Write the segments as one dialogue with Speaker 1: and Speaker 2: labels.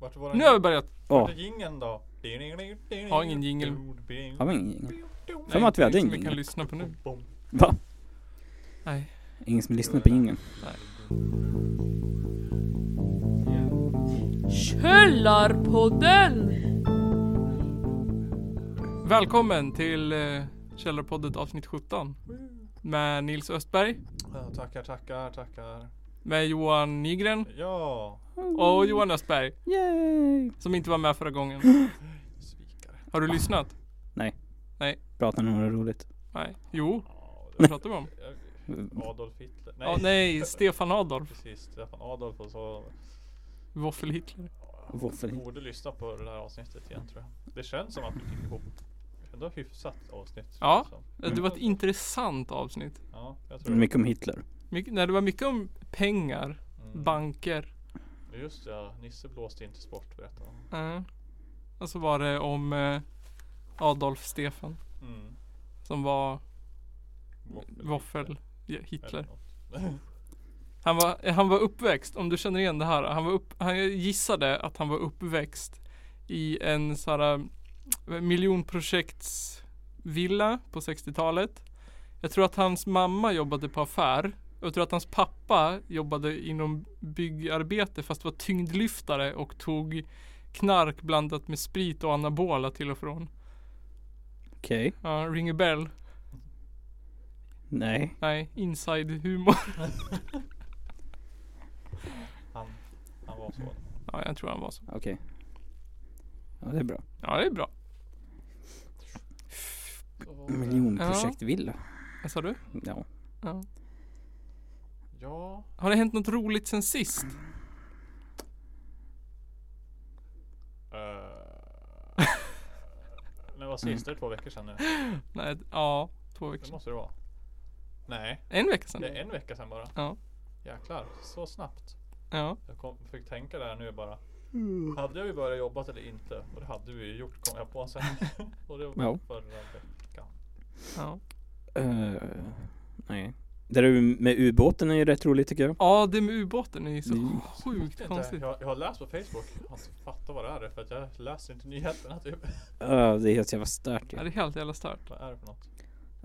Speaker 1: Vart var den?
Speaker 2: Nu har vi börjat.
Speaker 1: Vart
Speaker 3: Ja,
Speaker 1: är jingeln då?
Speaker 2: Har ingen jingel.
Speaker 3: har vi ingen jingel?
Speaker 2: Nej,
Speaker 3: För mig att vi hade
Speaker 2: som
Speaker 3: ingen
Speaker 2: vi kan
Speaker 3: jingel.
Speaker 2: lyssna på nu.
Speaker 3: Va?
Speaker 2: Nej.
Speaker 3: Ingen som lyssnar på jingeln.
Speaker 4: Källarpodden!
Speaker 2: Välkommen till eh, Källarpodden avsnitt 17. Med Nils Östberg,
Speaker 1: Ja, tackar, tackar, tackar.
Speaker 2: med Johan Nygren
Speaker 1: Ja,
Speaker 2: och Johan Östberg
Speaker 3: Yay!
Speaker 2: som inte var med förra gången.
Speaker 1: svikare.
Speaker 2: Har du lyssnat?
Speaker 3: Pratar ni om något roligt?
Speaker 2: Nej. Jo,
Speaker 1: Ja,
Speaker 2: vad pratar vi om?
Speaker 1: Adolf Hitler.
Speaker 2: Nej, nej Stefan Adolf.
Speaker 1: Precis, Stefan Adolf och så
Speaker 2: Våffel-Hitler.
Speaker 1: Vi
Speaker 3: Våffel.
Speaker 1: borde lyssna på det här avsnittet igen tror jag. Det känns som att vi fick ihop ändå hyfsat avsnitt. känns
Speaker 2: Ja.
Speaker 1: som.
Speaker 2: Det var ett intressant avsnitt.
Speaker 1: Ja, jag tror det.
Speaker 3: Mycket om Hitler.
Speaker 2: Mycket, nej, det var mycket om pengar,
Speaker 1: Mm.
Speaker 2: banker.
Speaker 1: Just det, ja, Nisse blåste inte sport berättade han.
Speaker 2: Eh. Och så var det om eh, Adolf Stefan
Speaker 1: Mm.
Speaker 2: som var
Speaker 1: Våffel.
Speaker 2: Våffel ja, Hitler.
Speaker 1: Eller något.
Speaker 2: Han var, eh, han var uppväxt, om du känner igen det här. Han, var upp, han gissade att han var uppväxt i en sån här eh, miljonprojektsvilla på 60-talet. Jag tror att hans mamma jobbade på affär. Och jag tror att hans pappa jobbade inom byggarbete fast var tyngdlyftare och tog knark blandat med sprit och anabola till och från.
Speaker 3: Okej.
Speaker 2: Ja, ring a bell.
Speaker 3: Nej.
Speaker 2: Nej, inside humor.
Speaker 1: Han, han var så.
Speaker 2: Ja, jag tror han var så.
Speaker 3: Okej. Ja, det är bra.
Speaker 2: Ja, det är bra.
Speaker 3: Miljonprojekt villa.
Speaker 2: Vad sa du?
Speaker 3: Ja.
Speaker 2: Ja.
Speaker 1: Ja,
Speaker 2: Har det hänt något roligt sen sist?
Speaker 1: eh, men vad sist? Det är två veckor sedan nu.
Speaker 2: Nej, ja, två veckor
Speaker 1: Det
Speaker 2: sedan.
Speaker 1: måste det vara. Nej,
Speaker 2: En vecka
Speaker 1: det
Speaker 2: sedan.
Speaker 1: är en vecka sedan bara.
Speaker 2: Ja.
Speaker 1: Jäklar, så snabbt.
Speaker 2: Ja,
Speaker 1: Jag kom, fick tänka där nu bara. Hade vi börjat jobba eller inte? Och det hade vi ju gjort kom jag på sen. och det var
Speaker 3: Ja.
Speaker 1: förra veckan.
Speaker 2: ja.
Speaker 3: Eh, nej. Det där med ubåten är ju rätt roligt tycker jag.
Speaker 2: Ja, det med ubåten är ju så
Speaker 3: Mm.
Speaker 1: Jag vet
Speaker 2: sjukt
Speaker 1: inte,
Speaker 2: konstigt.
Speaker 1: eh, Jag, jag har läst på Facebook. Jag har inte fattat vad det här är för att jag läser inte nyheterna typ.
Speaker 3: Uh, det är helt jävla stört. ju.
Speaker 2: Ja, det är helt jävla stört.
Speaker 1: Vad är det för något?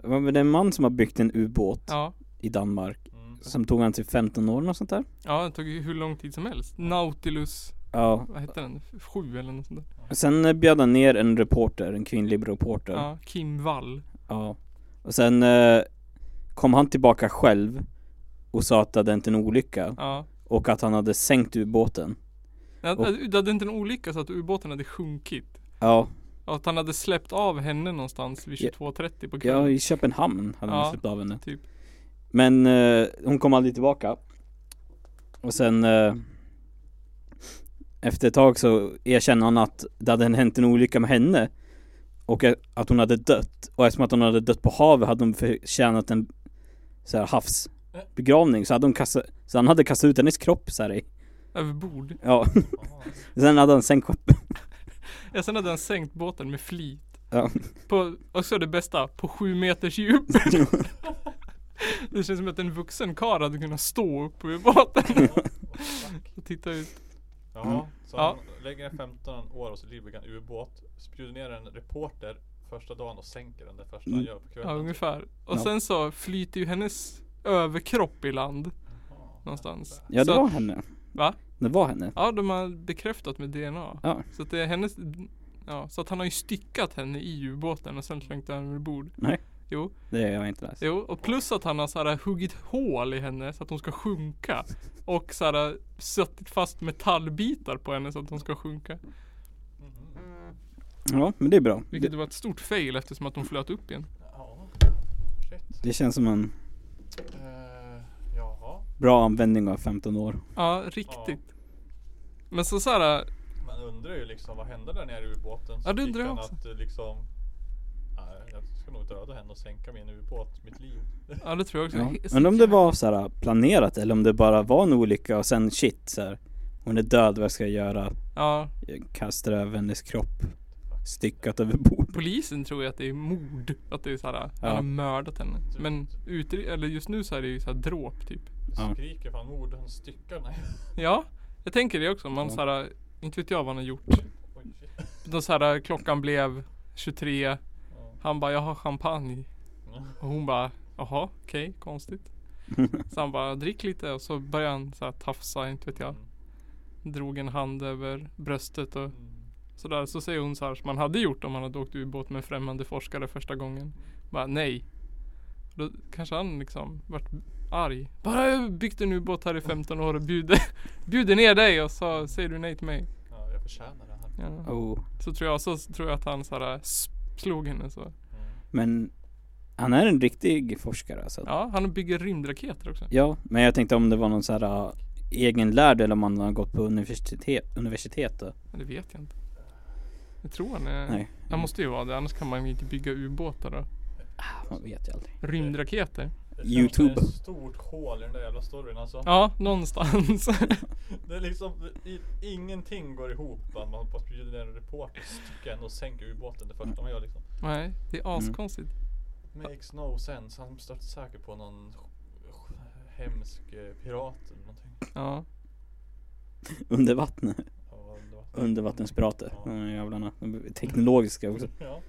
Speaker 3: Ja, men Det är en man som har byggt en ubåt
Speaker 2: Ja,
Speaker 3: i Danmark.
Speaker 1: Mm.
Speaker 3: Som tog han till 15 år och sånt där.
Speaker 2: ja, det tog ju hur lång tid som helst. Nautilus,
Speaker 3: Ja.
Speaker 2: vad hette den? Sju eller något sånt där.
Speaker 3: Sen eh, bjöd han ner en reporter, en kvinnlig reporter.
Speaker 2: Ja, Kim Wall.
Speaker 3: Ja. Och sen eh, kom han tillbaka själv och sa att det hade hänt en olycka
Speaker 2: Ja.
Speaker 3: och att han hade sänkt ubåten.
Speaker 2: Ja,
Speaker 3: Och-
Speaker 2: Det hade inte en olycka så att ubåten hade sjunkit.
Speaker 3: Ja,
Speaker 2: Och att han hade släppt av henne någonstans vid
Speaker 3: Ja.
Speaker 2: 22.30 på
Speaker 3: ja
Speaker 2: kvällen.
Speaker 3: i Köpenhamn hade
Speaker 2: Ja.
Speaker 3: han släppt av henne.
Speaker 2: Typ.
Speaker 3: Men eh, hon kom aldrig tillbaka. Och sen eh, efter ett tag så erkände han att det hade hänt en olycka med henne och eh, att hon hade dött. Och eftersom att hon hade dött på havet hade hon förtjänat en så här, havsbegravning. Så, hade hon kassa, så han hade kastat ut hennes kropp så här, i
Speaker 2: Över bord.
Speaker 3: Ja,
Speaker 1: Ah,
Speaker 3: sen hade han sänkt skeppet.
Speaker 2: Ja, sen hade han sänkt båten med flit.
Speaker 3: Ja.
Speaker 2: På, och så det bästa, på sju meters djup. det känns som att en vuxen karl hade kunnat stå upp vid båten
Speaker 1: fuck.
Speaker 2: och titta ut.
Speaker 3: Mm.
Speaker 1: Ja, så
Speaker 2: Ja.
Speaker 1: han lägger ner 15 år och så livbygger en ubåt. Spjuder ner en reporter första dagen och sänker den det första
Speaker 3: Mm.
Speaker 1: han gör på
Speaker 2: Ja,
Speaker 1: kvällen.
Speaker 2: ungefär. Och
Speaker 3: Ja.
Speaker 2: sen så flyter ju hennes överkropp i land
Speaker 1: Ah,
Speaker 2: någonstans.
Speaker 3: Ja, det
Speaker 2: så
Speaker 3: var
Speaker 2: att,
Speaker 3: henne.
Speaker 2: Va?
Speaker 3: Det var henne.
Speaker 2: Ja, de har bekräftat med DNA.
Speaker 3: Ja.
Speaker 2: Så att det är hennes, ja, så att han har ju styckat henne i ubåten och sen slängt henne över bord.
Speaker 3: Nej.
Speaker 2: Jo.
Speaker 3: Det har jag inte läst.
Speaker 2: Jo, och plus att han har så här huggit hål i henne så att hon ska sjunka. Och så här suttit fast metallbitar på henne så att hon ska sjunka.
Speaker 3: Ja, men det är bra.
Speaker 2: Vilket
Speaker 3: Det,
Speaker 2: var ett stort fail eftersom att hon flöt upp igen.
Speaker 1: Ja, shit.
Speaker 3: det känns som en
Speaker 1: Eh, jaha.
Speaker 3: bra användning av 15 år.
Speaker 2: Ja, riktigt. Men så så här,
Speaker 1: Man undrar ju liksom vad hände där nere i ubåten? Så
Speaker 2: Ja, det
Speaker 1: fick
Speaker 2: undrar jag
Speaker 1: han
Speaker 2: också.
Speaker 1: Att, eh, liksom, nej, jag ska nog döda henne och sänka min ubåt, mitt liv.
Speaker 2: ja det tror jag också.
Speaker 3: Ja.
Speaker 2: He-
Speaker 3: Men om det var så här äh, planerat eller om det bara var en olycka och sen shit så här. Hon är död, vad ska jag göra?
Speaker 2: Ja,
Speaker 3: Jag kastar över hennes kropp. Styckat över bord.
Speaker 2: polisen tror ju att det är mord. Att det är så här, han
Speaker 3: Ja.
Speaker 2: har mördat henne. Men utri- eller just nu så är det ju så här dråp typ.
Speaker 1: Det
Speaker 3: Ja.
Speaker 1: skriker fan mord, han styckar. Nej.
Speaker 2: Ja, jag tänker det också. Man
Speaker 3: Ja.
Speaker 2: så här Inte vet jag vad han har gjort.
Speaker 1: Oj, shit.
Speaker 2: Då så här, klockan blev 23.
Speaker 1: Ja.
Speaker 2: Han bara, jag har champagne.
Speaker 1: Ja.
Speaker 2: Och hon bara, jaha, okej, konstigt. Så han bara, drick lite och så började han så här tafsa, inte vet jag.
Speaker 1: Mm.
Speaker 2: Drog en hand över bröstet och
Speaker 1: Mm.
Speaker 2: sådär. Så säger hon så här som man hade gjort om man hade åkt ubåt med en främmande forskare första gången. Bara, nej. Då kanske han liksom vart arg. Bara, jag har byggt en ubåt här i 15 år och bjuder, bjuder ner dig och så säger du nej till mig.
Speaker 1: Ja, jag förtjänar det här.
Speaker 2: Ja.
Speaker 3: Oh.
Speaker 2: Så tror jag, så tror jag att han så här äh, s- slog henne så.
Speaker 1: Mm.
Speaker 3: Men han är en riktig forskare alltså. Ja.
Speaker 2: Ja, han bygger rymdraketer också.
Speaker 3: men jag tänkte om det var någon så här äh, egenlärd eller om han har gått på universitet, universitet då.
Speaker 2: Men det vet jag inte. Jag tror han är...
Speaker 3: Nej.
Speaker 2: Han måste ju vara det, annars kan man ju inte bygga ubåtar då.
Speaker 3: Man vet ju aldrig.
Speaker 2: Rymdraketer?
Speaker 1: Det känns
Speaker 3: YouTube.
Speaker 1: som ett stort hål i den där jävla storyn alltså.
Speaker 2: Ja, någonstans.
Speaker 1: Det är liksom, i, ingenting går ihop. va? Man hoppas bjuda ner en reporter stycken och sänker ubåten det första man gör liksom.
Speaker 2: Nej, det är askonstigt.
Speaker 1: Makes no sense. Han stötte säkert på någon hemsk eh, pirat eller någonting.
Speaker 2: Ja.
Speaker 3: Under vattnet.
Speaker 1: Ja, det var-
Speaker 3: Undervattenspirater.
Speaker 1: Ja.
Speaker 3: De jävlarna. De är teknologiska Mm. också.
Speaker 1: Ja.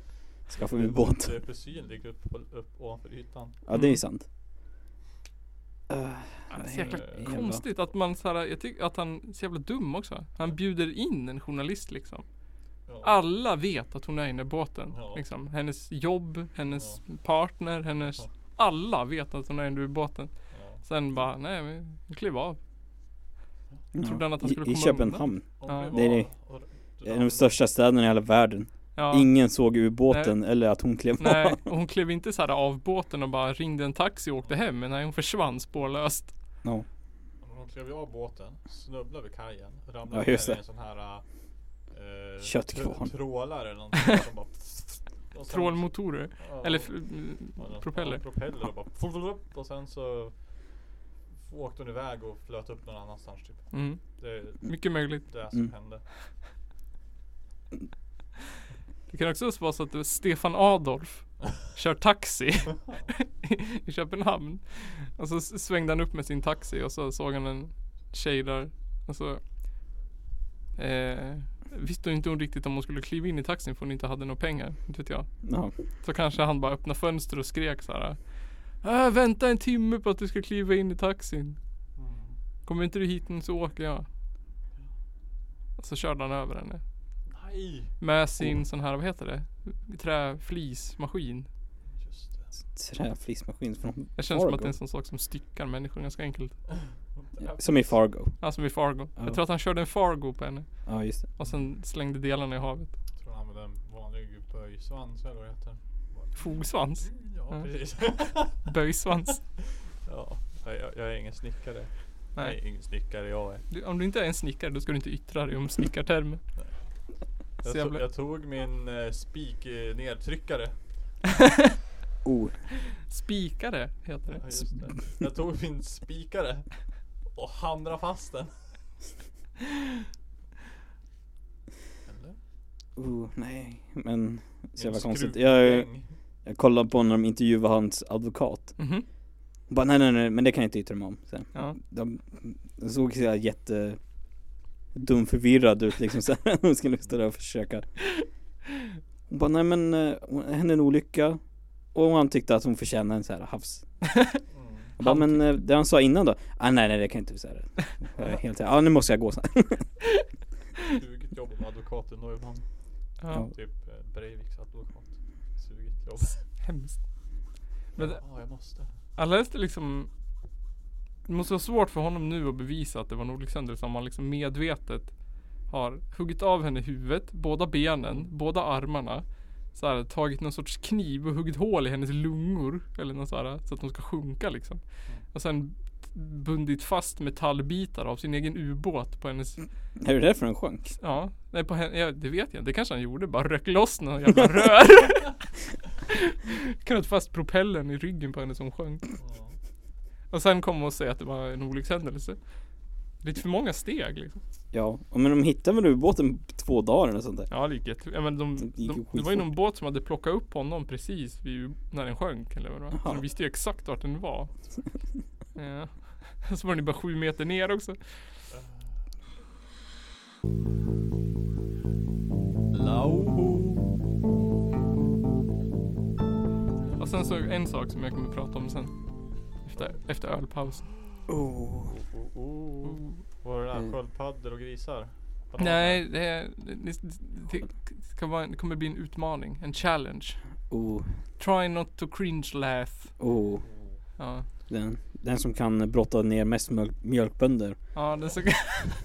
Speaker 3: Skaffa ubåt.
Speaker 1: Det är försynlig upp, upp ovanför ytan.
Speaker 3: Ja det är sant. Uh,
Speaker 2: Ja, det är så jäkla
Speaker 1: Eh,
Speaker 2: konstigt att man så här, jag tycker att han är så jävla dum också. Han bjuder in en journalist liksom.
Speaker 1: Ja.
Speaker 2: Alla vet att hon är inne i båten.
Speaker 1: Ja.
Speaker 2: Liksom. Hennes jobb, hennes partner, hennes...
Speaker 1: Ja.
Speaker 2: Alla vet att hon är inne i båten.
Speaker 1: Ja.
Speaker 2: Sen bara, nej men kliv av. Trodde han att han
Speaker 3: I-
Speaker 2: skulle
Speaker 3: I
Speaker 2: komma
Speaker 3: Köpenhamn.
Speaker 1: Om
Speaker 2: Ja.
Speaker 1: var-
Speaker 3: Det är-
Speaker 1: och-
Speaker 3: Det är de största städerna i hela världen.
Speaker 2: Ja.
Speaker 3: Ingen såg ubåten eller att hon klev
Speaker 2: Nej,
Speaker 3: av.
Speaker 2: och hon klev inte så här av båten och bara ringde en taxi och åkte hem. Men nej, hon försvann spårlöst.
Speaker 3: Ja.
Speaker 1: De klev ju av båten, snubblade vid kajen,
Speaker 3: Ja,
Speaker 1: ramlade
Speaker 3: just
Speaker 1: ner i
Speaker 3: det.
Speaker 1: en sån här eh,
Speaker 3: Köttkvarn.
Speaker 1: tr- Trålare eller någonting som bara och sen-
Speaker 2: Trålmotorer.
Speaker 1: ja,
Speaker 2: Eller
Speaker 1: och-
Speaker 2: f- mm,
Speaker 1: ja, någon-
Speaker 2: propeller.
Speaker 1: ja, Propeller och bara och sen så åkte hon iväg och flöt upp någon annanstans typ.
Speaker 2: Mm,
Speaker 1: Det är
Speaker 2: mycket möjligt.
Speaker 1: det som
Speaker 3: Mm.
Speaker 1: hände.
Speaker 2: Det kan också vara så att Stefan Adolf kör taxi i Köpenhamn. Och så s- svängde han upp med sin taxi och så såg han en tjej där. Och så eh, visste hon inte hon riktigt om hon skulle kliva in i taxin för hon inte hade några pengar. Inte vet jag.
Speaker 3: Ja.
Speaker 2: Så kanske han bara öppnade fönster och skrek så här. Äh, vänta en timme på att du ska kliva in i taxin.
Speaker 1: Mm.
Speaker 2: Kommer inte du hit nu så åker jag. Och så körde han över henne.
Speaker 1: Nej!
Speaker 2: Med sin sån här, vad heter det? Träflismaskin.
Speaker 1: Just det.
Speaker 3: Träflismaskin från
Speaker 2: Det känns som att det är en
Speaker 3: Fargo.
Speaker 2: sån sak som styckar människor ganska enkelt.
Speaker 3: Ja, Som i Fargo.
Speaker 2: Ja, som i Fargo.
Speaker 3: Ja.
Speaker 2: Jag tror att han körde en Fargo på henne.
Speaker 3: Ja just det.
Speaker 2: Och sen slängde delarna i havet.
Speaker 1: Jag tror han använde en vanlig böjsvans eller vad det heter.
Speaker 2: Fogsvans.
Speaker 1: Ja,
Speaker 2: Ja.
Speaker 1: precis.
Speaker 2: Böjsvans.
Speaker 1: ja, jag, jag är ingen snickare. Nej.
Speaker 2: Nej.
Speaker 1: ingen snickare jag är.
Speaker 2: Du, om du inte är en snickare då ska du inte yttra dig om snickartermer.
Speaker 1: Jag,
Speaker 2: Så
Speaker 1: to-
Speaker 2: jävla-
Speaker 1: jag tog min eh, spik eh, nedtryckare.
Speaker 3: Oh.
Speaker 2: Spikare heter det.
Speaker 1: Ja, just det. Jag tog min spikare och hamrade fast den. Eller?
Speaker 3: oh nej. Men så jävla
Speaker 1: Min
Speaker 3: konstigt. Jag,
Speaker 1: skruvdäng.
Speaker 3: jag kollade på när de intervjuade hans advokat.
Speaker 2: Mhm.
Speaker 3: Hon bara nej nej nej men det kan jag inte yttra mig om. Sen.
Speaker 2: Ja.
Speaker 3: De, de såg så här jätte dum förvirrad ut liksom så här. Hon skulle stå där och försöka. Hon bara nej men eh, hon- hände en olycka. Och han tyckte att hon förtjänade en så här havs.
Speaker 1: Mm.
Speaker 3: Jag bara, men eh, det han sa innan då? Ah, nej nej det kan jag inte säga det. Jag är helt Ja ah, nu måste jag gå sen.
Speaker 1: Sugigt jobb med advokat i Norrmalm.
Speaker 2: ja.
Speaker 1: Typ eh, Breiviks advokat. Sugigt jobb.
Speaker 2: Hemskt. Men det-
Speaker 1: Ja, jag måste.
Speaker 2: han läste liksom Det måste vara svårt för honom nu att bevisa att det var en olyckshändelse som han liksom medvetet har huggit av henne huvudet, båda benen, båda armarna. Så här, tagit någon sorts kniv och huggit hål i hennes lungor. Eller något så, här, så att de ska sjunka liksom. Och sen bundit fast metallbitar av sin egen ubåt på hennes
Speaker 3: Är det därför den sjönk?
Speaker 2: Ja, nej på henne, ja, det vet jag inte. Det kanske han gjorde. Bara rök loss några jävla rör. Knöt fast propellen i ryggen på henne som sjönk.
Speaker 1: Ja.
Speaker 2: Och sen kom hon och säga att det var en olyckshändelse. Lite för många steg liksom.
Speaker 3: Ja, och men de hittade väl ubåten på två dagar eller sånt där?
Speaker 2: Ja, det gick jätte- ja, men de,
Speaker 3: Det
Speaker 2: de,
Speaker 3: gick
Speaker 2: Det
Speaker 3: ju
Speaker 2: var ju
Speaker 3: skitfort.
Speaker 2: någon båt som hade plockat upp honom precis vid, när den sjönk eller vad det var. Så
Speaker 3: Jaha.
Speaker 2: de visste ju exakt vart den var. Ja. Så var den ju bara sju meter ner också. Och sen så en sak som jag kommer prata om sen. Efter, efter ölpausen.
Speaker 3: Oh.
Speaker 1: Oh, oh, oh. Var det där
Speaker 3: Mm.
Speaker 1: sköldpaddor och grisar? Bananer?
Speaker 2: Nej, det, är- det, det, det, ska vara, en- det kommer bli en utmaning. En challenge.
Speaker 3: Oh.
Speaker 2: Try not to cringe laugh.
Speaker 3: Oh.
Speaker 2: Ja,
Speaker 3: Den, den som kan brotta ner mest mjölk, mjölkbönder.
Speaker 2: ja den ska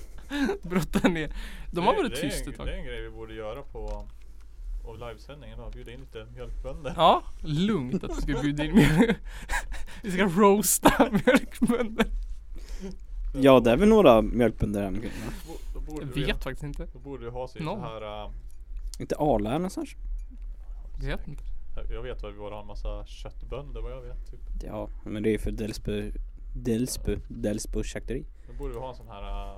Speaker 2: brotta ner. De har
Speaker 1: Det-
Speaker 2: varit
Speaker 1: det är
Speaker 2: tyst
Speaker 1: en-
Speaker 2: ett tag.
Speaker 1: Det är en grej vi borde göra på och livesändningen då. Bjuda in lite mjölkbönder.
Speaker 2: Ja, lugnt att du ska bjuda in mjölk. Vi ska roasta mjölkbönder.
Speaker 3: Ja, det är väl några mjölkbönder här omkring, va?
Speaker 1: Bo- Då borde
Speaker 2: Jag
Speaker 1: du,
Speaker 2: vet faktiskt inte.
Speaker 1: då borde du ha sig
Speaker 2: Någon.
Speaker 1: så här. äh,
Speaker 3: Inte Arla någonstans?
Speaker 2: Jag vet inte.
Speaker 1: jag vet vad vi borde ha en massa köttbönder vad jag vet. Typ.
Speaker 3: Ja, men det är ju för Delsbo Delsbo Delsbo charkuteri.
Speaker 1: Då borde vi ha en sån här. äh,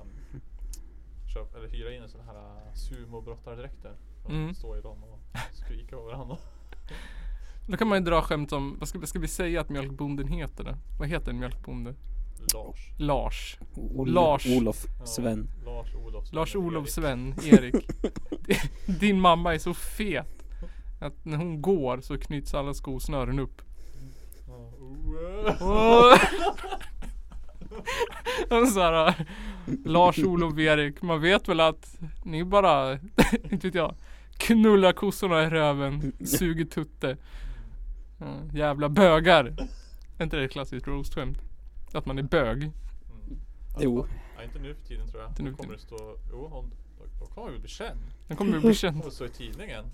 Speaker 1: Köp, eller hyra in en sån här äh, sumobrottardräkter. För att
Speaker 2: Mm.
Speaker 1: Stå i dem och skrika på varandra.
Speaker 2: Då kan man ju dra skämt om, vad ska, ska vi säga att mjölkbonden heter då? Vad heter en mjölkbonde?
Speaker 1: Lars.
Speaker 2: Lars.
Speaker 3: Ol-
Speaker 2: Lars.
Speaker 3: Olof.
Speaker 1: Ja,
Speaker 3: Sven.
Speaker 1: Lars Olof. Sven och
Speaker 2: Lars-Olof
Speaker 1: Erik.
Speaker 2: Sven, Erik. Din mamma är så fet. Att när hon går så knyts alla skosnören upp.
Speaker 1: Ja. Oh, äh.
Speaker 2: Åh! Och så här, Lars-Olof Erik, man vet väl att ni bara, inte vet jag, knullar kossorna i röven, suger tutte. Ja, jävla bögar. Är inte det ett klassiskt roast-skämt? Att man är bög.
Speaker 1: Mm.
Speaker 3: Jo.
Speaker 1: Ja, inte nu för tiden tror jag.
Speaker 2: Inte nu
Speaker 1: Då
Speaker 2: för
Speaker 1: kommer det stå, jo hon, då- då kommer vi bli känd.
Speaker 2: Den kommer vi bli
Speaker 1: Hon
Speaker 2: känd.
Speaker 1: kommer stå i tidningen.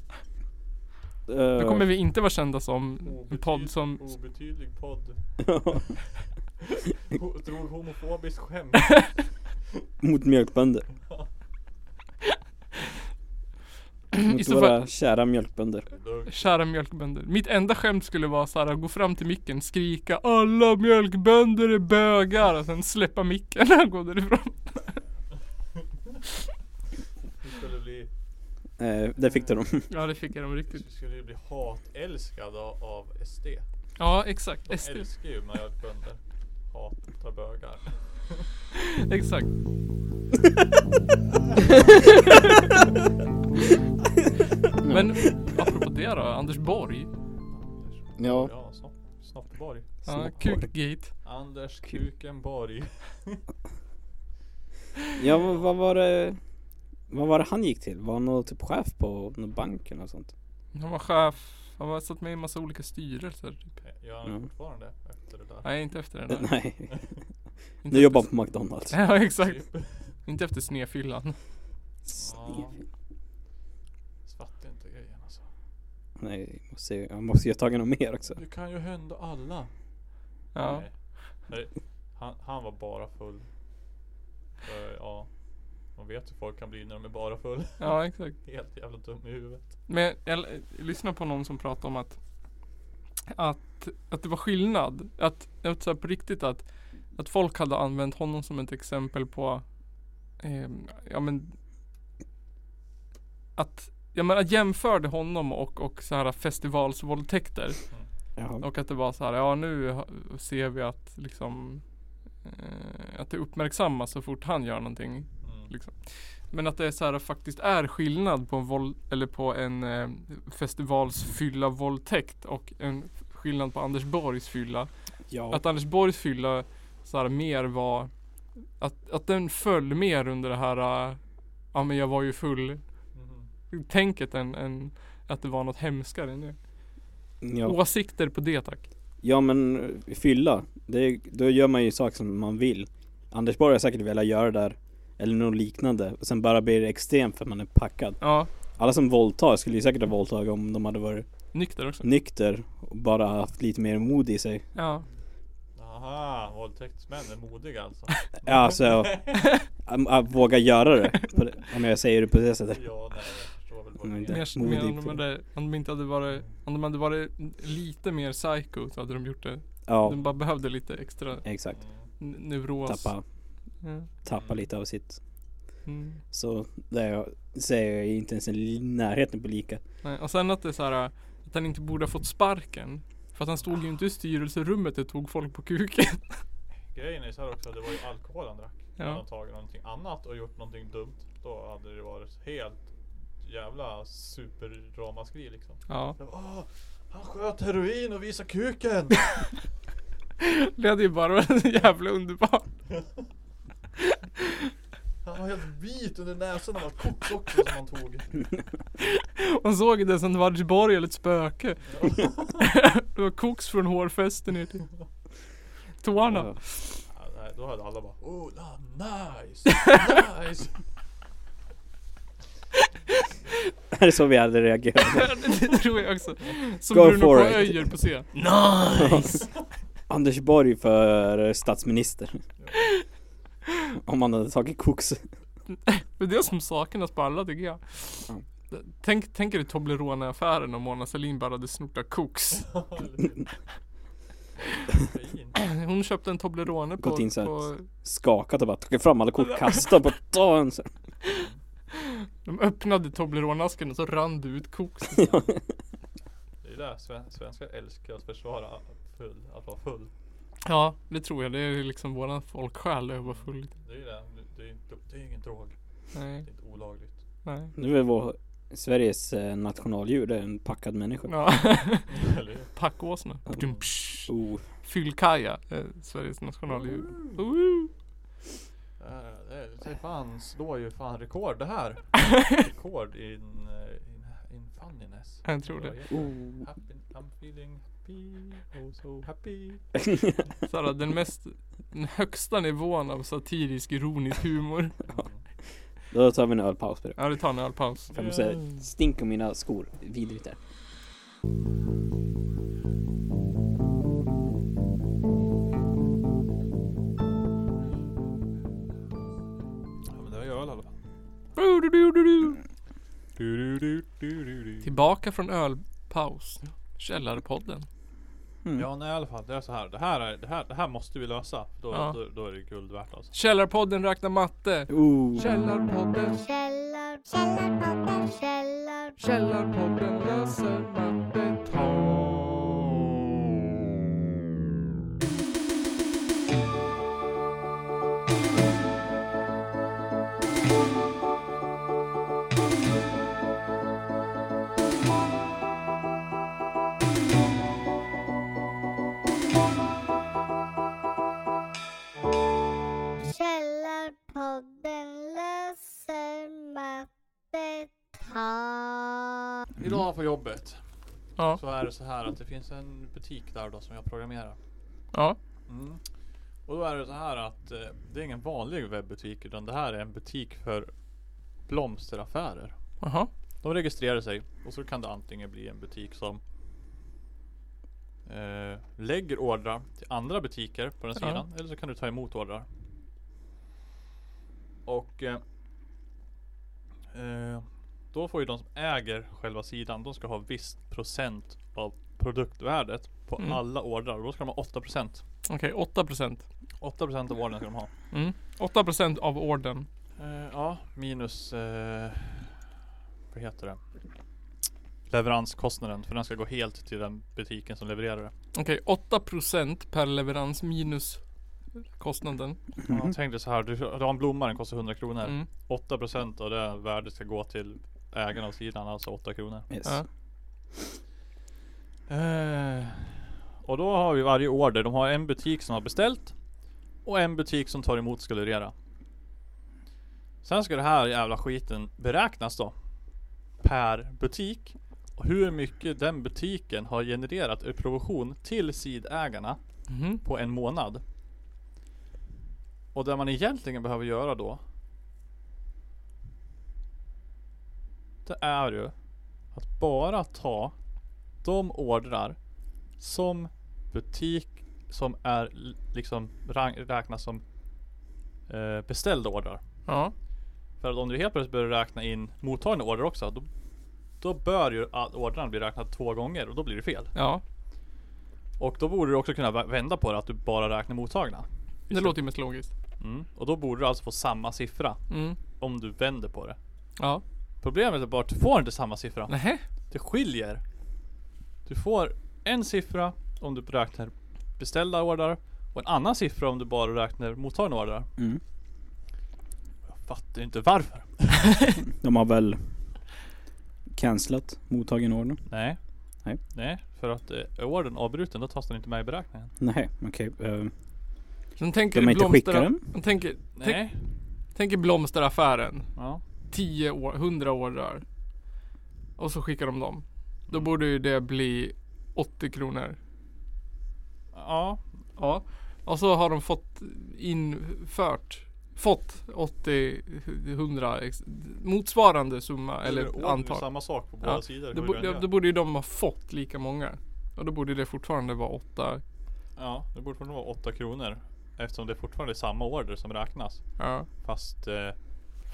Speaker 3: Eh,
Speaker 2: Då kommer vi inte vara kända som en podd som
Speaker 1: Obetydlig podd. Ho- Drog homofobiskt skämt.
Speaker 3: Mot mjölkbönder.
Speaker 2: I
Speaker 3: Mot
Speaker 2: så
Speaker 3: våra
Speaker 2: fall-
Speaker 3: kära mjölkbönder.
Speaker 1: Då-
Speaker 2: Kära mjölkbönder. Mitt enda skämt skulle vara så här, gå fram till micken, skrika Alla mjölkbönder är bögar och sen släppa micken och gå därifrån.
Speaker 1: Vi skulle bli,
Speaker 3: Eh, det fick de.
Speaker 2: Ja det fick jag dem
Speaker 1: vi
Speaker 2: riktigt.
Speaker 1: skulle ju bli hatälskade av- av SD.
Speaker 2: Ja exakt.
Speaker 1: De
Speaker 2: SD.
Speaker 1: älskar ju mjölkbönder. Hatar bögar.
Speaker 2: Exakt. Men apropå det då, Anders Borg.
Speaker 3: Ja.
Speaker 1: Ja, snopp, Snoppborg.
Speaker 2: Ja,
Speaker 3: Så-
Speaker 2: Kukgate.
Speaker 1: Anders
Speaker 3: Kul.
Speaker 1: Kukenborg.
Speaker 3: Ja, vad, vad var det? Vad var det han gick till? Var han någon typ chef på någon bank eller något sånt?
Speaker 2: Han var chef. Han var satt med i en massa olika styrelser. Typ.
Speaker 1: Gör han
Speaker 3: Mm.
Speaker 1: fortfarande efter det där?
Speaker 2: Nej inte efter den.
Speaker 3: Eh,
Speaker 2: här.
Speaker 3: Nej.
Speaker 2: Inte
Speaker 3: Nu
Speaker 2: efter-
Speaker 3: jobbar han på McDonalds.
Speaker 2: Ja exakt.
Speaker 1: Typ.
Speaker 2: Inte efter snefyllan.
Speaker 3: Snefil.
Speaker 1: Fattar inte grejen alltså.
Speaker 3: Nej, jag måste, ju- jag måste ju ta tag i något mer också.
Speaker 1: Det kan ju hända alla.
Speaker 2: Ja.
Speaker 1: Nej. Eh, Nej. Han, han var bara full. För, ja. Man vet hur folk kan bli när de är bara full.
Speaker 2: Ja exakt.
Speaker 1: Helt jävla dum i huvudet.
Speaker 2: Men jag l- lyssnade på någon som pratade om att att, att det var skillnad. Att, att så här på riktigt att, att folk hade använt honom som ett exempel på ehm, ja men att jag menar jämförde honom och, och så här festivalsvåldtäkter.
Speaker 3: Jaha.
Speaker 2: Och att det var så här, ja nu ha- ser vi att liksom eh, att det uppmärksammas så fort han gör någonting.
Speaker 1: Mm.
Speaker 2: Liksom. Men att det är så här, faktiskt är skillnad på en, våld, eller på en eh, festivalsfylla våldtäkt och en f- skillnad på Anders Borgs fylla.
Speaker 3: Ja.
Speaker 2: Att Anders Borgs fylla så här, mer var att, att den föll mer under det här eh, ja men jag var ju full
Speaker 1: Mhm.
Speaker 2: tänket än, än att det var något hemskare än det.
Speaker 3: Ja.
Speaker 2: Åsikter på det tack.
Speaker 3: Ja men eh, fylla, det, är- då gör man ju saker som man vill Anders Borg har säkert velat göra det där Eller något liknande och sen bara blir det extremt för att man är packad
Speaker 2: Ja,
Speaker 3: Alla som våldtar skulle ju säkert ha våldtagit om de hade varit
Speaker 2: nykter också.
Speaker 3: nykter och bara haft lite mer mod i sig
Speaker 2: Ja,
Speaker 1: Aha, våldtäktsmän är modiga alltså.
Speaker 3: Ja alltså, att, att våga göra det på det- Om jag säger det på det sättet
Speaker 1: Ja, nej, jag förstår väl vad
Speaker 3: Men
Speaker 1: det
Speaker 3: det-
Speaker 1: är.
Speaker 2: mer, mer om,
Speaker 3: modigt.
Speaker 2: de hade, om de inte hade varit, om de hade varit lite mer psycho så hade de gjort det.
Speaker 3: Ja,
Speaker 2: De bara behövde lite extra
Speaker 3: exakt
Speaker 1: Mm.
Speaker 2: n- neuros.
Speaker 3: Tappa,
Speaker 2: Ja.
Speaker 3: tappa lite av sitt
Speaker 2: Mm.
Speaker 3: Så det är, säger jag inte ens i närheten på lika
Speaker 2: Nej. Och sen att det är så här att han inte borde ha fått sparken. För att han stod ju inte i styrelserummet och tog folk på kuken.
Speaker 1: Grejen är så här också att det var ju alkohol han drack.
Speaker 2: Ja.
Speaker 1: Hade han tagit någonting annat och gjort någonting dumt. Då hade det varit helt jävla superramaskri liksom.
Speaker 2: Ja.
Speaker 1: Det var, Åh, han sköt heroin och visade kuken!
Speaker 2: Det hade ju bara varit jävla underbart.
Speaker 1: Han var helt vit under näsan av allt koks också som han tog.
Speaker 2: Man såg inte ens en Vargsborg eller ett spöke. Det var koks från hårfästen ner till tårna.
Speaker 3: Ja.
Speaker 1: Ja, nej, då hade alla bara Oh, la, nice! Nice!
Speaker 3: Det är så vi hade reagerat.
Speaker 2: Det tror jag också. Som
Speaker 3: Go
Speaker 2: Bruno på
Speaker 3: for it.
Speaker 2: Öijer på scen. Nice!
Speaker 3: Anders Borg för statsminister. Om man hade tagit koks.
Speaker 2: Det är det som saknas på alla tycker jag.
Speaker 3: Ja.
Speaker 2: Tänk, tänk dig Toblerone-affären om Mona Sahlin bara hade snott av koks.
Speaker 1: Fin.
Speaker 2: Hon köpte en Toblerone på,
Speaker 3: Gått in så här.
Speaker 2: på...
Speaker 3: Skakat och bara tagit fram alla kort, kastat på dagen.
Speaker 2: De öppnade Toblerone-asken och så rann det ut koks.
Speaker 1: Det är där sven- svenskar älskar att försvara full, att vara full.
Speaker 2: Ja, det tror jag. Det är ju liksom våran folksjäl att vara full.
Speaker 1: Det är ju det. Det- Det är, inte, det är ingen drog.
Speaker 2: Nej,
Speaker 1: Det är inte olagligt.
Speaker 2: nej.
Speaker 3: Nu är vår Sveriges eh, nationaldjur, det är en packad människa.
Speaker 2: Ja.
Speaker 1: Eller hur?
Speaker 2: Packåsna.
Speaker 3: Ja.
Speaker 2: Dum, psh.
Speaker 3: Oh.
Speaker 2: Fyllkaja, eh, Sveriges nationaldjur.
Speaker 1: Eh, Det är- det är fan, slår ju fan rekord det här. Rekord in, eh, in, in funniness.
Speaker 2: Jag tror det.
Speaker 3: Oh.
Speaker 1: Happy, I'm feeling happy, oh so happy.
Speaker 2: Såhär, den mest, den högsta nivån av satirisk ironisk humor.
Speaker 3: Då tar vi en ölpaus på det.
Speaker 2: Ja, det tar en ölpaus.
Speaker 3: För jag
Speaker 2: Mm.
Speaker 3: måste stinka mina skor. Vidrigt där.
Speaker 1: Ja men det var ju öl i alla fall.
Speaker 2: Tillbaka från ölpaus. Källarpodden.
Speaker 3: Mm.
Speaker 1: Ja nej, i alla fall, det är så här. Det här, är, det här, det här måste vi lösa. Då,
Speaker 2: Ja.
Speaker 1: då, då är det guld värt alltså.
Speaker 2: Källarpodden räknar matte.
Speaker 3: Oh.
Speaker 2: Källarpodden,
Speaker 4: Källar, källarpodden, källar,
Speaker 2: källarpodden löser matte.
Speaker 4: källarpodden löser mattetal.
Speaker 1: Idag på jobbet
Speaker 2: Ja,
Speaker 1: så är det så här att det finns en butik där då som jag programmerar.
Speaker 2: ja,
Speaker 1: Mm. Och då är det så här att eh, det är ingen vanlig webbutik utan det här är en butik för blomsteraffärer.
Speaker 2: jaha.
Speaker 1: De registrerar sig och så kan det antingen bli en butik som eh, lägger ordrar till andra butiker på den
Speaker 2: Ja.
Speaker 1: sidan eller så kan du ta emot ordrar. Och eh, eh, då får ju de som äger själva sidan, de ska ha viss procent av produktvärdet på
Speaker 2: Mm.
Speaker 1: alla ordrar och då ska de ha 8%.
Speaker 2: Okej, 8%.
Speaker 1: 8% av ordern ska de ha.
Speaker 2: Mm. 8% av orden.
Speaker 1: Eh, ja, minus... Eh, vad heter det? Leveranskostnaden, för den ska gå helt till den butiken som levererar det.
Speaker 2: Okej, 8% per leverans minus kostnaden.
Speaker 1: Jag tänkte så här, du, du har en blomma, den kostar 100 kronor.
Speaker 2: Mm.
Speaker 1: 8% av det värdet ska gå till ägaren av sidan, alltså 8 kronor.
Speaker 3: Yes.
Speaker 2: Ja.
Speaker 1: Eh, och då har vi varje order, de har en butik som har beställt och en butik som tar emot och ska leverera. Sen ska det här jävla skiten beräknas då. Per butik. Och hur mycket den butiken har genererat i provision till sidägarna
Speaker 2: Mhm.
Speaker 1: på en månad. Och det man egentligen behöver göra då. Det är ju att bara ta de ordrar som butik som är l- liksom rank, räknas som eh, beställda ordrar.
Speaker 2: Ja.
Speaker 1: För att om du helt plötsligt börjar räkna in mottagna order också. Då, då bör ju all- ordrarna bli räknade två gånger och då blir det fel.
Speaker 2: Ja.
Speaker 1: Och då borde du också kunna vä- vända på det att du bara räknar mottagna.
Speaker 2: Det låter ju mest logiskt.
Speaker 1: Mm. Och då borde du alltså få samma siffra
Speaker 2: Mm.
Speaker 1: om du vänder på det.
Speaker 2: Ja.
Speaker 1: Problemet är bara att du får inte samma siffra.
Speaker 2: Nej.
Speaker 1: Det skiljer. Du får en siffra om du räknar beställda ordrar Och en annan siffra om du bara räknar mottagaren var det där.
Speaker 3: Mm.
Speaker 1: Jag fattar inte varför.
Speaker 3: De har väl cancelat mottagen ordern?
Speaker 1: Nej.
Speaker 3: Nej.
Speaker 1: Nej, för att eh, är ordern avbruten då tas den inte med i beräkningen.
Speaker 3: Nej, okej. Eh,
Speaker 2: Sen tänker
Speaker 3: de har
Speaker 2: du
Speaker 3: inte skickat
Speaker 2: blomstera,
Speaker 3: den?
Speaker 2: man tänker, tänk,
Speaker 1: Nej.
Speaker 2: tänker blomsteraffären.
Speaker 1: Ja.
Speaker 2: 10 år, 100 år där. Och så skickar de dem. Då borde ju det bli 80 kronor.
Speaker 1: Ja.
Speaker 2: Ja. Och så har de fått infört, fått 80, 100 ex- motsvarande summa eller,
Speaker 1: ordern är
Speaker 2: antal.
Speaker 1: samma sak på
Speaker 2: Ja.
Speaker 1: båda sidor.
Speaker 2: Då,
Speaker 1: går
Speaker 2: bo,
Speaker 1: ju att
Speaker 2: då,
Speaker 1: göra.
Speaker 2: då borde ju de ha fått lika många. Och då borde det fortfarande vara åtta.
Speaker 1: Ja, det borde fortfarande vara 8 kronor. Eftersom det fortfarande är samma order som räknas.
Speaker 2: Ja.
Speaker 1: Fast eh,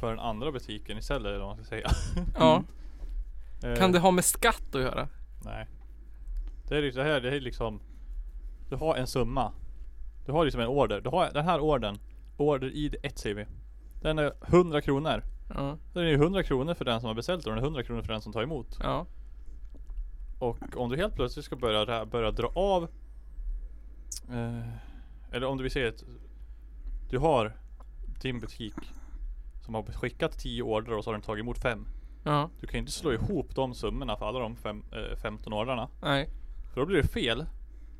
Speaker 1: för den andra butiken istället eller vad man ska säga.
Speaker 2: ja.
Speaker 1: Eh,
Speaker 2: Kan det ha med skatt att göra?
Speaker 1: Nej. Det är liksom, det här, det är liksom Du har en summa. Du har liksom en order. Du har den här ordern. Order ID 1 säger vi. Den är 100 kronor.
Speaker 2: Ja.
Speaker 1: Den är ju 100 kronor för den som har beställt och den är 100 kronor för den som tar emot.
Speaker 2: Ja.
Speaker 1: Och om du helt plötsligt ska börja, rä- börja dra av eh, Eller om du vill säga att Du har din butik Som har skickat 10 order och så har den tagit emot 5
Speaker 2: Ja.
Speaker 1: Du kan ju inte slå ihop de summorna för alla de fem, eh, 15 ordrarna
Speaker 2: Nej.
Speaker 1: För då blir det fel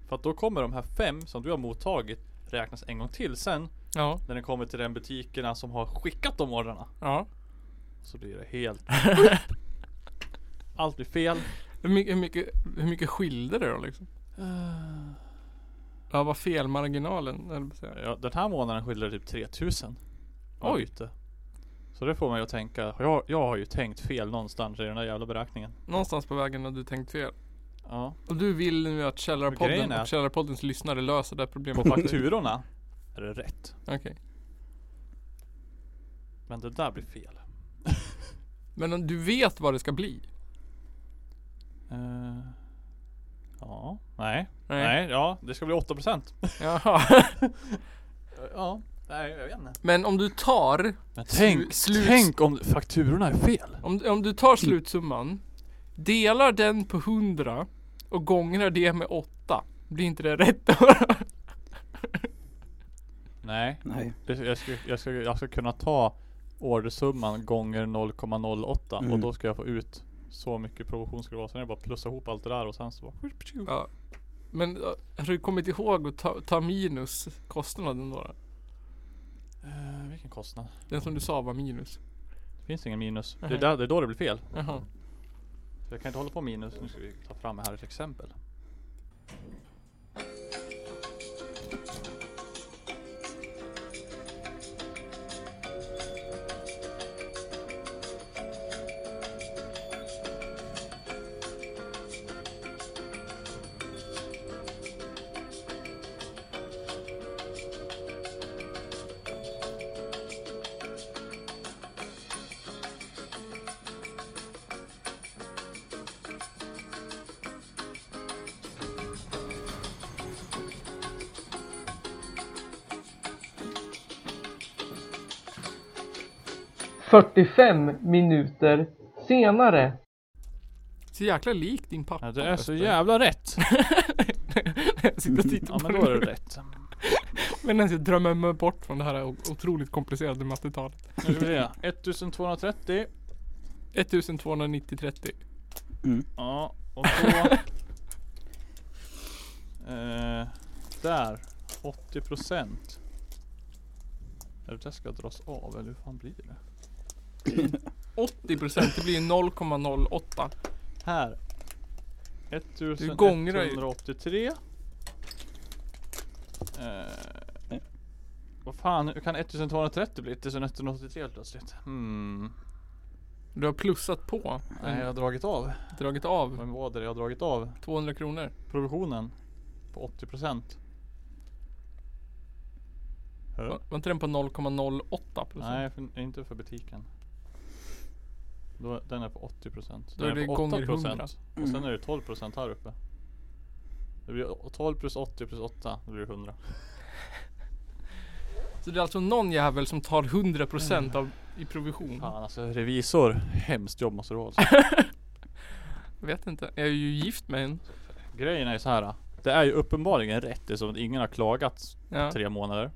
Speaker 1: För att då kommer de här 5 som du har mottagit Räknas en gång till sen
Speaker 2: Ja.
Speaker 1: När den kommer till den butikerna som har skickat de ordrarna
Speaker 2: Ja.
Speaker 1: Så blir det helt Allt blir fel
Speaker 2: Hur mycket, hur mycket, hur mycket skilde det då liksom?
Speaker 1: Eh,
Speaker 2: Ja, vad felmarginalen eller vad säger jag?
Speaker 1: Ja, den här månaden skiljer det typ 3000 Var
Speaker 2: Oj.
Speaker 1: ute. Så det får mig att tänka, jag, jag har ju tänkt fel någonstans i den där jävla beräkningen
Speaker 2: Någonstans på vägen har du tänkt fel.
Speaker 1: Ja,
Speaker 2: Och du vill nu
Speaker 1: Grejen
Speaker 2: att Källarpodden
Speaker 1: är
Speaker 2: och
Speaker 1: att-
Speaker 2: Källarpoddens lyssnare löser det här
Speaker 1: på
Speaker 2: problemet.
Speaker 1: fakturorna är det rätt
Speaker 2: Okej.
Speaker 1: Men det där blir fel
Speaker 2: Men om du vet vad det ska bli?
Speaker 1: Eh, Ja, nej, nej, ja det ska bli 8%
Speaker 2: Jaha.
Speaker 1: Ja, nej jag vet inte
Speaker 2: Men om du tar,
Speaker 1: Men tänk,
Speaker 2: slut-
Speaker 1: tänk om fakturorna är fel
Speaker 2: om, om du tar slutsumman, delar den på 100 och gångrar det med 8. Blir inte det rätt då?
Speaker 1: Nej,
Speaker 3: Nej.
Speaker 1: det- jag ska, jag ska, jag ska kunna ta ordersumman gånger 0,08 och
Speaker 3: Mm.
Speaker 1: då ska jag få ut så mycket provision ska det vara. Sen är det bara att plussa ihop allt det där och sen så bara
Speaker 2: Ja. Men äh, har du kommit ihåg att ta, ta minus kostnaden då? då?
Speaker 1: Eh, vilken kostnad?
Speaker 2: Den som du sa var minus.
Speaker 1: Det finns ingen minus. Det, är
Speaker 2: Mhm.
Speaker 1: där, det är då det blir fel.
Speaker 2: Jaha.
Speaker 1: Så jag kan inte hålla på med minus. Nu ska vi ta fram här ett exempel.
Speaker 2: minuter senare. Så jäkla lik din pappa.
Speaker 1: Ja, det är så
Speaker 2: förresten.
Speaker 1: jävla rätt.
Speaker 2: jag sitter och tittar
Speaker 1: Ja
Speaker 2: på
Speaker 1: men då är
Speaker 2: det.
Speaker 1: det rätt.
Speaker 2: Men ens jag drömmer mig bort från det här o- otroligt komplicerade mattetalet.
Speaker 1: Nu ska vi se. 1230.
Speaker 2: 1290-30.
Speaker 3: Mm.
Speaker 1: Ja och då. eh, där. 80 procent. Det där ska dras av eller hur fan blir det?
Speaker 2: 80% det blir ju 0,08.
Speaker 1: Här.
Speaker 2: Du gångrar ju.
Speaker 1: 1183. Eh, vad fan, hur kan 1230 bli 1183 helt plötsligt?
Speaker 2: Mm.
Speaker 1: Hmm.
Speaker 2: Du har plussat på.
Speaker 1: Nej, jag har dragit av.
Speaker 2: Dragit av
Speaker 1: Vad var det jag har dragit av?
Speaker 2: 200 kronor.
Speaker 1: Provisionen på 80%. Hör.
Speaker 2: Va- Var inte den på 0,08
Speaker 1: Nej, för, inte för butiken. Då, den är på 80%.
Speaker 2: Då
Speaker 1: Den
Speaker 2: är det
Speaker 1: på
Speaker 2: gånger
Speaker 1: 8%.
Speaker 2: 100.
Speaker 1: Och sen är det 12% här uppe. Det blir 12 plus 80 plus 8, då blir det 100.
Speaker 2: Mm. Så det är alltså någon jävel som tar
Speaker 1: Mm.
Speaker 2: 100% av, i provision.
Speaker 1: Fan alltså revisor, hemskt jobb måste det vara alltså.
Speaker 2: Jag vet inte. Jag är ju gift med en.
Speaker 1: Grejen är ju så här. Det är ju uppenbarligen rätt eftersom att ingen har klagat
Speaker 2: Ja.
Speaker 1: tre månader.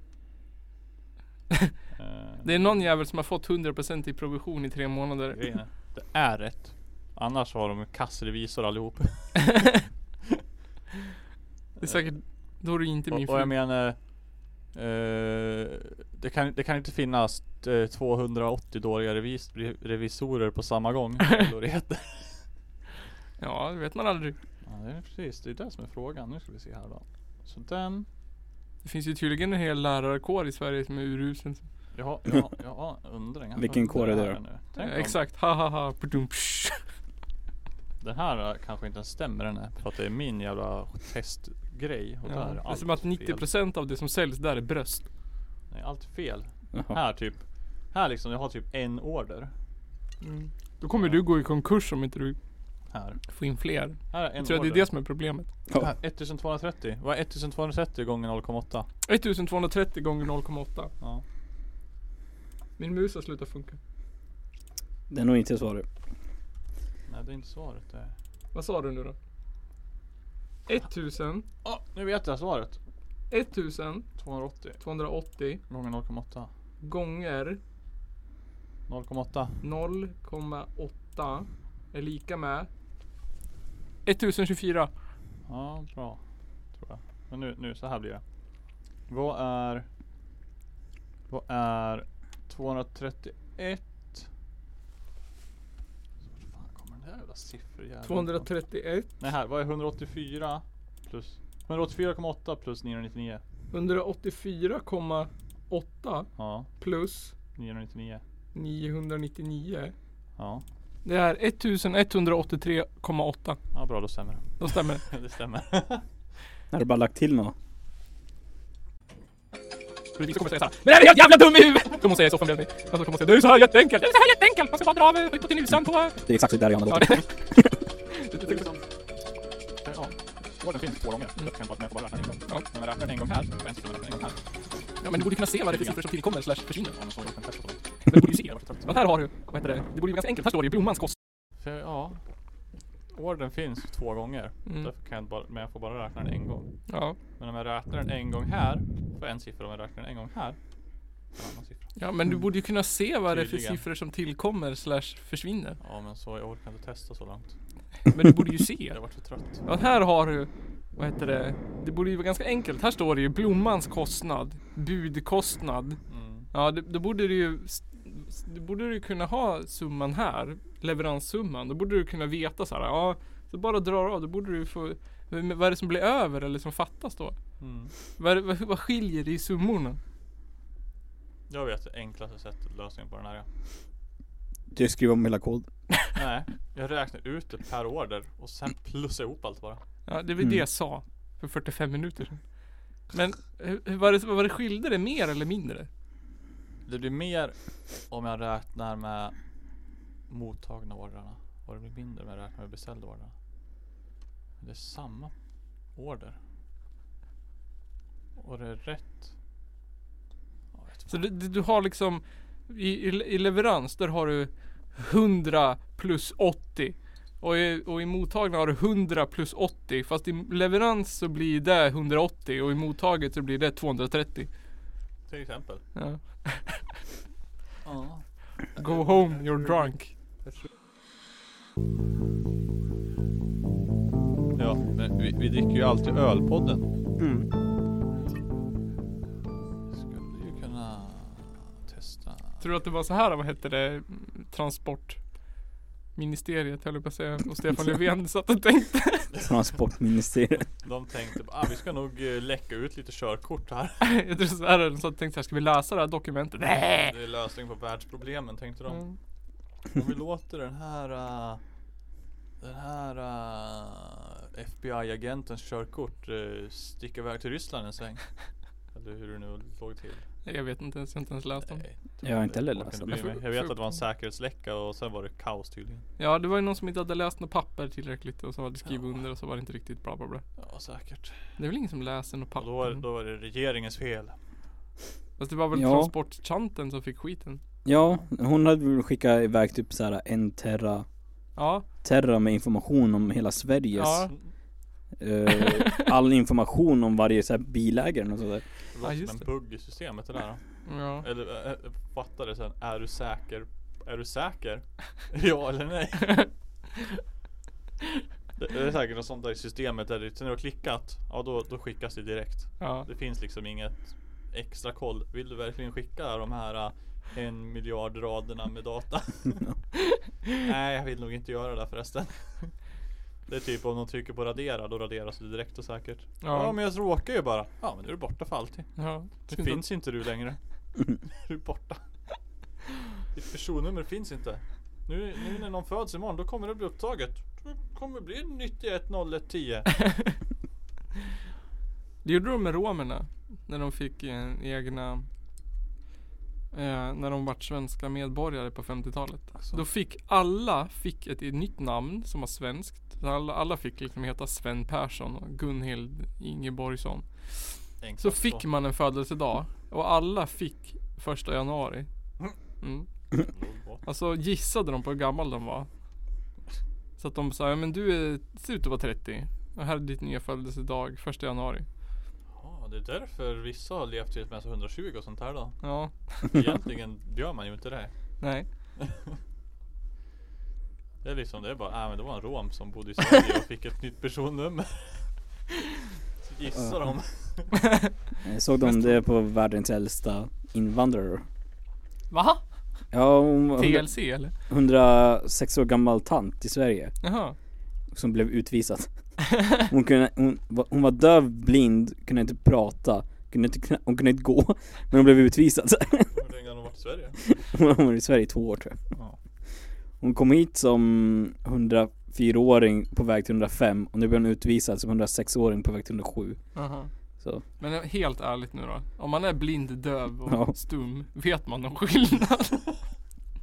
Speaker 1: Eh,
Speaker 2: Det är någon jävel som har fått 100% i provision i tre månader.
Speaker 1: grejen är, det är rätt. Annars har de kassrevisor allihop.
Speaker 2: Det är säkert, då är det inte min
Speaker 1: Och, och jag
Speaker 2: fru.
Speaker 1: menar eh, det, kan, det kan inte finnas eh, 280 dåliga revis, re- revisorer på samma gång. eller vad det heter.
Speaker 2: Ja, det vet man aldrig.
Speaker 1: Ja, det är precis, det är det som är frågan. Nu ska vi se här då. Så den.
Speaker 2: Det finns ju tydligen en hel lärarkår i Sverige som är urusel.
Speaker 1: Jag har, jag har, jag har en undring. här.
Speaker 3: Vilken kår är det
Speaker 1: här
Speaker 3: då?
Speaker 1: nu.
Speaker 2: Ja,
Speaker 1: Tänk om
Speaker 2: Eh, exakt, ha ha ha. Pudum, psh.
Speaker 1: Den här kanske inte ens stämmer den här. För att det är min jävla testgrej. Och där är
Speaker 2: Ja. Det är
Speaker 1: allt
Speaker 2: som att
Speaker 1: fel.
Speaker 2: 90% av det som säljs där är bröst.
Speaker 1: Nej, allt fel.
Speaker 3: Jaha.
Speaker 1: Här typ. Här liksom, jag har typ en order. Mm.
Speaker 2: Då kommer du gå i konkurs om inte du
Speaker 1: Här.
Speaker 2: får in fler.
Speaker 1: Här är en
Speaker 2: Jag tror att det
Speaker 1: order.
Speaker 2: är det som är problemet.
Speaker 3: Ja.
Speaker 1: 1230. Vad är 1230 gånger 0,8?
Speaker 2: 1230 gånger 0,8.
Speaker 1: Ja.
Speaker 2: Min mus har slutat funka.
Speaker 3: Det är nog inte svaret.
Speaker 1: Nej det är inte svaret det.
Speaker 2: Vad sa du nu då? 1000,
Speaker 1: Åh, nu vet jag svaret.
Speaker 2: 1280
Speaker 1: 280 gånger 0,8.
Speaker 2: gånger
Speaker 1: 0,8.
Speaker 2: 0,8 är lika med 1024.
Speaker 1: Ja, bra. Tror jag. Men nu, nu så här blir det. Vad är... Vad är 231? Så Vart fan kommer den där jävla siffror
Speaker 2: 231,
Speaker 1: Nej här, vad är 184 plus... 184,8 plus 999?
Speaker 2: 184,8
Speaker 1: Ja,
Speaker 2: plus
Speaker 1: 999.
Speaker 2: 999.
Speaker 1: Ja,
Speaker 2: Det är 1183,8.
Speaker 1: ja bra då stämmer det.
Speaker 2: Då stämmer det.
Speaker 1: Det stämmer.
Speaker 3: När du bara lagt till något.
Speaker 2: Politik kommer säga såhär Men är du helt jävla dum i huvudet? Då kommer hon säga i soffan bredvid mig. Och så kommer hon säga Det är så här jätteenkelt! Det är så här jätteenkelt! Man ska bara dra av eh, hypotenusan på...
Speaker 3: Det är exakt där jag
Speaker 2: Ja,
Speaker 3: hamnade.
Speaker 2: det,
Speaker 1: Det är liksom... Ja, gården finns två gånger. Jag kan bara räkna bara räkna en gång.
Speaker 2: Ja.
Speaker 1: När man räknar en gång här, och en sekund räknar en gång här.
Speaker 2: ja men du borde kunna se vad det är för siffror som tillkommer slash försvinner.
Speaker 1: Ja, men så är det kanske så.
Speaker 2: Men du borde ju se. Men här har du, vad heter det? Det borde ju vara ganska enkelt. Här står det
Speaker 1: För,
Speaker 2: ju Blommans kost.
Speaker 1: ja. Orden finns två gånger.
Speaker 2: Mm.
Speaker 1: Därför kan jag bara, men jag får bara räkna den en gång.
Speaker 2: Ja.
Speaker 1: Men om jag räknar den en gång här, får jag en siffra. Om jag räknar den en gång här, får jag en annan siffra.
Speaker 2: Ja men du borde ju kunna se vad det är för
Speaker 1: Tydligen.
Speaker 2: siffror som tillkommer slash försvinner.
Speaker 1: Ja men så, jag orkar inte testa så långt.
Speaker 2: Men du borde ju se.
Speaker 1: Jag har varit för trött.
Speaker 2: Ja, här har du, vad heter det? Det borde ju vara ganska enkelt. Här står det ju Blommans kostnad. Budkostnad.
Speaker 1: Mm.
Speaker 2: Ja, det, då borde du ju då borde du kunna ha summan här, leveranssumman. Då borde du kunna veta så här, ja, så bara drar av. Då borde du få, men vad är det som blir över eller som fattas då?
Speaker 1: Mm.
Speaker 2: Vad, är det- vad, vad skiljer det i summorna?
Speaker 1: Jag vet det enklaste sättet, lösningen på den här. Ja.
Speaker 3: Du skriver om hela kod.
Speaker 1: Nej, jag räknar ut det per order och sen plussar jag ihop allt bara.
Speaker 2: Ja, det var
Speaker 3: Mm.
Speaker 2: det jag sa för 45 minuter sedan. Men hur- hur- var det, var det skilde det mer eller mindre?
Speaker 1: Det blir mer om jag räknar med mottagna ordrarna. Och det blir mindre om jag räknar med beställda ordrarna. Men Det är samma order. Och det är rätt. Jag vet
Speaker 2: Så
Speaker 1: fan.
Speaker 2: du, du du har liksom i, i, i leverans där har du 100 plus 80 och i, och i mottagna har du 100 plus 80 fast i leverans så blir det 180 och i mottaget så blir det 230.
Speaker 1: Till exempel.
Speaker 2: Ja.
Speaker 1: Ja.
Speaker 2: Go home you're drunk.
Speaker 1: Ja, men vi, vi dricker ju alltid ölpodden.
Speaker 3: Mm.
Speaker 1: Skulle ju kunna testa.
Speaker 2: Tror du att det var så här vad hette det? Transportministeriet höll jag på att säga och Stefan Löfven satt och tänkte.
Speaker 3: Transportministeriet.
Speaker 1: De tänkte bara, ah, vi ska nog eh, läcka ut lite körkort här.
Speaker 2: Jag tror så här de satt och tänkte så här, ska vi läsa det här dokumentet? Nej!
Speaker 1: Det är lösningen på världsproblemen tänkte de.
Speaker 2: Mm.
Speaker 1: Om vi låter den här eh, Den här eh, FBI-agentens körkort uh, sticka iväg till Ryssland en sväng. Eller hur det nu låg till.
Speaker 2: Jag vet inte ens, jag har inte ens läst dem.
Speaker 1: Nej,
Speaker 3: Jag har inte heller
Speaker 1: orkar
Speaker 3: läst
Speaker 1: inte
Speaker 3: dem.
Speaker 1: bry mig. Jag vet att det var en säkerhetsläcka och sen var det kaos tydligen.
Speaker 2: Ja, det var ju någon som inte hade läst något papper tillräckligt och så hade skrivit
Speaker 1: Ja.
Speaker 2: under och så var det inte riktigt bla bla bla.
Speaker 1: Ja säkert.
Speaker 2: Det är väl ingen som läser något
Speaker 1: Och
Speaker 2: papper?
Speaker 1: då
Speaker 3: Mm.
Speaker 1: var, då var det regeringens fel.
Speaker 2: Fast det var väl
Speaker 3: Ja.
Speaker 2: transportchanten som fick skiten?
Speaker 3: Ja, hon hade väl skickat iväg typ såhär en terra
Speaker 2: Ja,
Speaker 3: Terra med information om hela Sveriges
Speaker 2: ja.
Speaker 3: eh, all information om varje så här, bilägare och sådär.
Speaker 1: Det
Speaker 2: Ja,
Speaker 1: låter
Speaker 2: just
Speaker 1: som en
Speaker 2: det.
Speaker 1: bugg i systemet det där.
Speaker 2: Ja.
Speaker 1: Eller äh, fattar det sen, är du säker? Är du säker? ja eller nej? Det det är säkert något sånt där i systemet där det, sen när du har klickat, ja då, då skickas det direkt.
Speaker 2: ja.
Speaker 1: Det finns liksom inget extra koll. Vill du verkligen skicka de här äh, en miljard raderna med data? Nej, jag vill nog inte göra det där förresten. Det är typ om de trycker på radera, då raderas det direkt och säkert. Ja,
Speaker 2: Ja.
Speaker 1: men jag råkar ju bara. Ja men nu är du borta för alltid.
Speaker 2: ja.
Speaker 1: Det finns inte du längre. Du är borta. Ditt personnummer finns inte. Nu, nu när någon föds imorgon, då kommer det bli upptaget. Då kommer det bli 910110.
Speaker 2: Det gjorde de med romerna. När de fick eh, egna eh, När de vart svenska medborgare på 50-talet.
Speaker 1: Alltså.
Speaker 2: Då fick alla fick ett, ett nytt namn som var svenskt. Alla, alla fick liksom heta Sven Persson och Gunhild Ingeborgsson. Så
Speaker 3: Alltså.
Speaker 1: Enklast
Speaker 2: fick man en födelsedag. Och alla fick första januari. Mm.
Speaker 1: Låg på.
Speaker 2: Alltså gissade de på hur gammal de var. Så att de sa, ja men du är, ser ut att vara 30. Och här är ditt nya födelsedag, första januari.
Speaker 1: Ja, det är därför vissa har levt tills de är så 120 och sånt här då.
Speaker 2: Ja,
Speaker 1: Egentligen gör man ju inte det.
Speaker 2: nej.
Speaker 1: Det är liksom, det är bara, äh, men det var en rom som bodde i Sverige och fick ett nytt personnummer. Så gissar de.
Speaker 3: Eh, Såg de det på världens äldsta invandrare?
Speaker 2: Va?
Speaker 3: Ja, hon var hundra-
Speaker 2: TLC eller?
Speaker 3: 106 år gammal tant i Sverige
Speaker 2: Jaha.
Speaker 3: som blev utvisad. Hon, kunde, hon, var- hon var döv, blind, kunde inte prata, kunde inte, kna- hon kunde inte gå, men hon blev utvisad.
Speaker 1: Hur länge har de varit i Sverige?
Speaker 3: Hon har varit i Sverige i två år tror jag.
Speaker 1: Ja.
Speaker 3: Hon kom hit som 104-åring på väg till 105 och nu blev hon utvisad som 106-åring på väg till 107.
Speaker 2: Jaha.
Speaker 3: Så
Speaker 2: Men helt ärligt nu då. Om man är blind, döv och
Speaker 3: Ja.
Speaker 2: stum, vet man någon skillnad?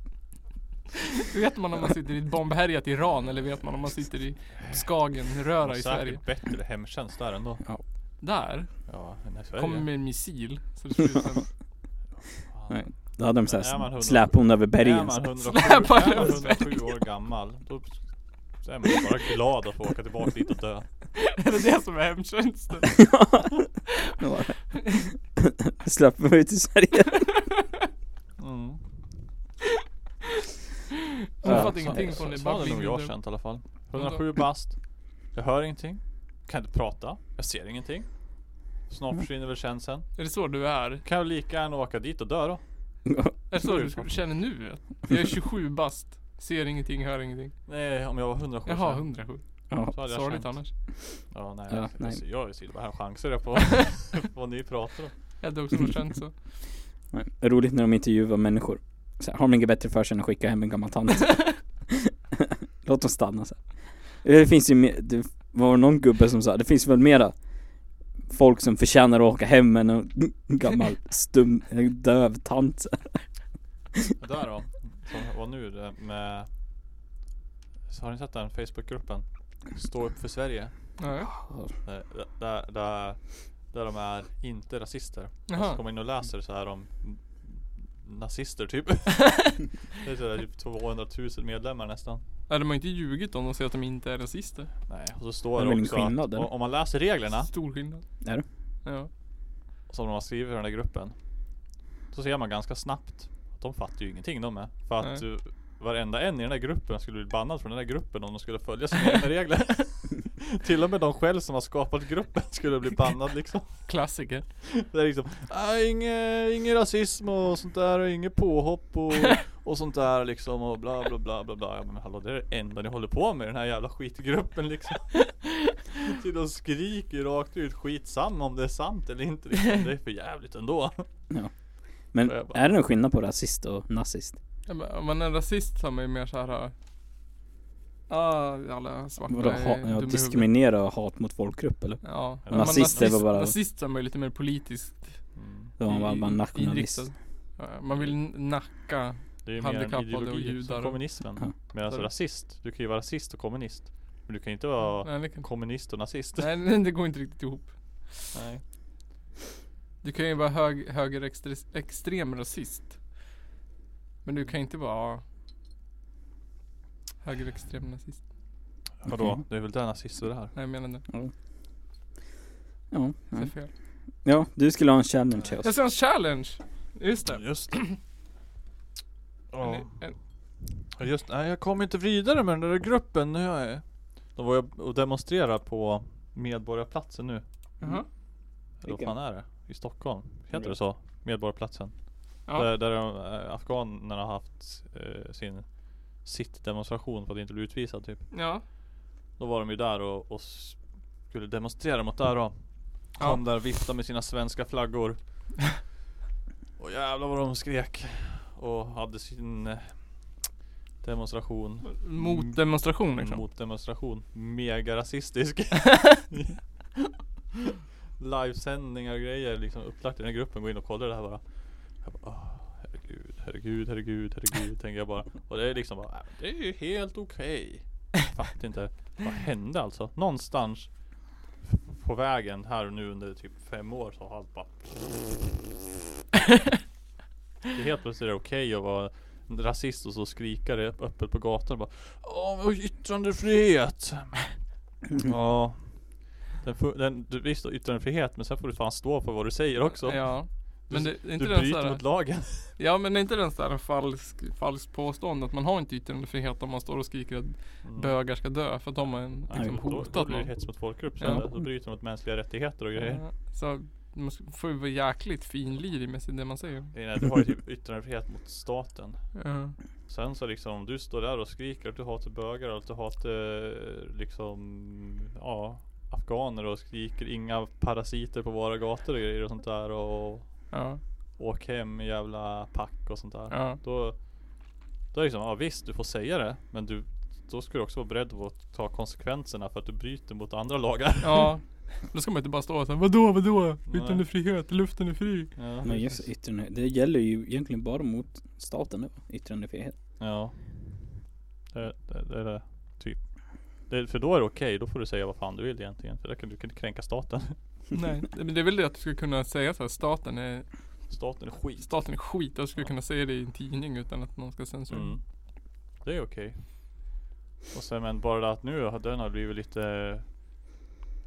Speaker 2: vet man om man sitter i ett bombhärjat Iran eller vet man om man sitter i
Speaker 1: De
Speaker 2: Skagenröra
Speaker 1: har
Speaker 2: i Sverige?
Speaker 1: säkert bättre hemtjänst där ändå.
Speaker 2: Där
Speaker 1: Ja, men i Sverige.
Speaker 2: kommer med en missil. Så det ser ut som
Speaker 1: Fan.
Speaker 3: Nej. då hade de
Speaker 1: Men är man
Speaker 3: såhär
Speaker 1: 100
Speaker 3: släp hon över
Speaker 1: Är
Speaker 3: bergen.
Speaker 1: man
Speaker 3: så-
Speaker 1: 107,
Speaker 2: Släpa
Speaker 1: är man
Speaker 2: över
Speaker 1: 107 år gammal, då så är man ju bara glad att få åka tillbaka dit och dö.
Speaker 2: Är det det som är hemtjänsten?
Speaker 3: Ja. Släpp mig ut i Sverige. Mm.
Speaker 2: Hon
Speaker 3: Ja,
Speaker 2: fattar
Speaker 3: så-
Speaker 2: ingenting på
Speaker 1: Så,
Speaker 2: det är
Speaker 1: så
Speaker 2: bara
Speaker 1: hade nog
Speaker 2: blind och
Speaker 1: jag
Speaker 2: döv.
Speaker 1: känt i alla fall. 107 bast. Jag hör ingenting. Kan inte prata. Jag ser ingenting. Snart
Speaker 2: Mm.
Speaker 1: försvinner väl känslan.
Speaker 2: Är det så du är? Är
Speaker 1: Kan jag lika gärna åka dit och dö då?
Speaker 2: det så du känner nu? Jag är 27 bast. Ser ingenting, hör ingenting.
Speaker 1: Nej, om jag var 107 så
Speaker 2: Jaha, 107.
Speaker 3: Ja.
Speaker 1: så hade jag
Speaker 2: Sorgligt
Speaker 1: känt.
Speaker 2: annars.
Speaker 1: Ja, nej.
Speaker 3: Ja,
Speaker 1: jag-
Speaker 3: nej.
Speaker 1: Jag, jag ser bara här chanser jag på vad ni pratar om.
Speaker 2: Jag hade också nog känt så.
Speaker 3: Nej, det är Roligt när de intervjuar människor. Så här, har de inget bättre för sig än att skicka hem en gammal tant? Låt dem stanna så här. Det finns ju, mer- det var någon gubbe som sa, det finns väl mera folk som förtjänar att åka hem än en gammal stum, eh, döv tant.
Speaker 1: Det där då, som var nu det med så Har ni sett den Facebookgruppen? Stå upp för Sverige
Speaker 2: Nej.
Speaker 1: Eh, Där, där, där de är inte rasister Och så
Speaker 2: Jaha.
Speaker 1: kommer man in och läser så här om n- Nazister typ Det är så där, typ 200 000 medlemmar nästan
Speaker 2: Nej, de har inte ljugit om de säger att de inte är rasister.
Speaker 1: Nej, och så står
Speaker 3: Det är
Speaker 1: det
Speaker 3: väl en
Speaker 1: också att,
Speaker 3: skillnad, eller?
Speaker 1: o- om man läser reglerna
Speaker 2: Stor skillnad.
Speaker 3: Är det?
Speaker 2: Ja.
Speaker 1: Som de har skrivit i den där gruppen Så ser man ganska snabbt att De fattar ju ingenting de med För att
Speaker 2: Nej.
Speaker 1: uh, Varenda en i den där gruppen skulle bli bannad från den där gruppen om de skulle följa sina egna regler Till och med de själv som har skapat gruppen skulle bli bannad liksom
Speaker 2: Klassiker.
Speaker 1: Det är liksom "Ah, inge, ingen rasism och sånt där och inget påhopp och, och sånt där liksom och bla bla bla bla bla ja, Men hallå det är det enda ni håller på med i den här jävla skitgruppen liksom Till de skriker rakt ut skitsamma om det är sant eller inte liksom. Det är för jävligt ändå
Speaker 3: Men
Speaker 1: Och jag bara-
Speaker 3: är det någon skillnad på rasist och nazist?
Speaker 2: Ja, men Om man är rasist så är man ju mer såhär... Ja, ah, alla svarta
Speaker 3: Vadå,
Speaker 2: är
Speaker 3: ha,
Speaker 2: dumma i
Speaker 3: ja,
Speaker 2: huvudet.
Speaker 3: diskriminera och hat mot folkgrupp eller?
Speaker 2: Ja.
Speaker 1: Ja,
Speaker 2: men man är
Speaker 3: nazister var
Speaker 2: nazist-
Speaker 3: bara-
Speaker 2: Nazist så är man ju lite mer politiskt
Speaker 1: Mm.
Speaker 3: Då var
Speaker 2: i-
Speaker 3: man nationalist.
Speaker 2: inriktad. Ja, Man vill nacka.
Speaker 1: Det är ju mer en
Speaker 2: Handikappade och
Speaker 1: ideologi
Speaker 2: judar
Speaker 1: som
Speaker 2: och-
Speaker 1: kommunismen
Speaker 3: Ja.
Speaker 1: Medan
Speaker 2: Sorry.
Speaker 1: rasist, du kan ju vara rasist och kommunist Men du kan ju inte vara
Speaker 2: Nej, det kan...
Speaker 1: kommunist och nazist
Speaker 2: Nej, nej, det går inte riktigt ihop.
Speaker 1: Nej.
Speaker 2: Du kan ju vara hög, högerextrem rasist. Men du kan inte vara högerextrem nazist.
Speaker 1: Vadå?
Speaker 3: Okej.
Speaker 1: Det är väl inte nazister det här?
Speaker 2: Nej jag menar nu.
Speaker 3: Ja,
Speaker 2: Det är
Speaker 3: nej.
Speaker 2: fel.
Speaker 3: ja, du skulle ha en challenge till
Speaker 2: Jag
Speaker 3: oss.
Speaker 2: ser en challenge! Just det.
Speaker 1: Just det.
Speaker 2: En,
Speaker 1: Ja.
Speaker 2: en,
Speaker 1: Ja, Just Nej jag kom inte vidare med den där gruppen när jag är... De var jag och demonstrerade på Medborgarplatsen nu.
Speaker 2: jaha.
Speaker 1: Eller vad
Speaker 3: Vilken?
Speaker 1: fan är det? I Stockholm? Heter det så? Medborgarplatsen?
Speaker 2: Ja.
Speaker 1: Där, där de, eh, afghanerna har haft eh, sin sitt demonstration för att inte bli utvisad typ.
Speaker 2: ja.
Speaker 1: Då var de ju där och, och s- skulle demonstrera mot det här då. Kom där och viftade med sina svenska flaggor. och jävlar vad de skrek. Och hade sin eh, demonstration.
Speaker 2: Mot demonstration liksom.
Speaker 1: Mot demonstration. Mega rasistisk. Livesändningar och grejer liksom upplagt i den här gruppen. Gå in och kolla det här bara. Jag bara åh, herregud, herregud, herregud, herregud tänker jag bara. Och det är liksom bara, äh, det är ju helt okej. Fattar inte. Vad hände alltså? Någonstans på vägen här och nu under typ fem år så har allt bara Det är helt plötsligt är det okej att vara en rasist och så skrika det öppet på gatan och bara Åh, och yttrandefrihet! ja den, fu- den, du, Visst, yttrandefrihet men sen får du fan stå för vad du säger också
Speaker 2: Ja. Men
Speaker 1: Du-
Speaker 2: det, är
Speaker 1: Du
Speaker 2: inte den
Speaker 1: bryter
Speaker 2: såhär,
Speaker 1: mot lagen
Speaker 2: ja men är inte den såhär en falsk, falsk påstående att man har inte yttrandefrihet om man står och skriker att bögar ska dö för att de har en,
Speaker 1: Mm. Nej,
Speaker 2: liksom
Speaker 1: då, då
Speaker 2: hotat
Speaker 1: blir det
Speaker 2: någon.
Speaker 1: hets mot folkgrupp
Speaker 2: Ja.
Speaker 1: sen där. Då bryter de mot mänskliga rättigheter och grejer
Speaker 2: Ja, Så man ska- får ju vara jäkligt finlirig med sig- det man säger.
Speaker 1: Nej, Du har ju typ yttrandefrihet mot staten
Speaker 2: Ja.
Speaker 1: Sen så liksom om du står där och skriker att du hatar bögar och att du hatar eh, liksom ja afghaner och skriker inga parasiter på våra gator och grejer och sånt där och
Speaker 2: Ja.
Speaker 1: åk hem jävla pack och sånt där.
Speaker 2: Ja.
Speaker 1: Då, då är det liksom, ja visst du får säga det men du då ska du också vara beredd på att ta konsekvenserna för att du bryter mot andra lagar.
Speaker 2: ja. Då ska man inte bara stå och säga vadå vadå?
Speaker 1: Nej.
Speaker 2: Yttrandefrihet, luften är fri.
Speaker 1: Ja.
Speaker 3: Men just yttrande, det gäller ju egentligen bara mot staten då, yttrandefrihet.
Speaker 1: Ja. Det, det, det är det. Typ. Det, för då är det okej, då får du säga vad fan du vill egentligen. För där kan du kan inte kränka staten.
Speaker 2: Nej. Men det är väl det att du ska kunna säga såhär staten är,
Speaker 1: Staten är skit.
Speaker 2: staten är skit. Jag skulle kunna säga det i en tidning utan att någon ska censurera.
Speaker 1: Mm. Det är okej. Och sen men bara det att nu har den har blivit lite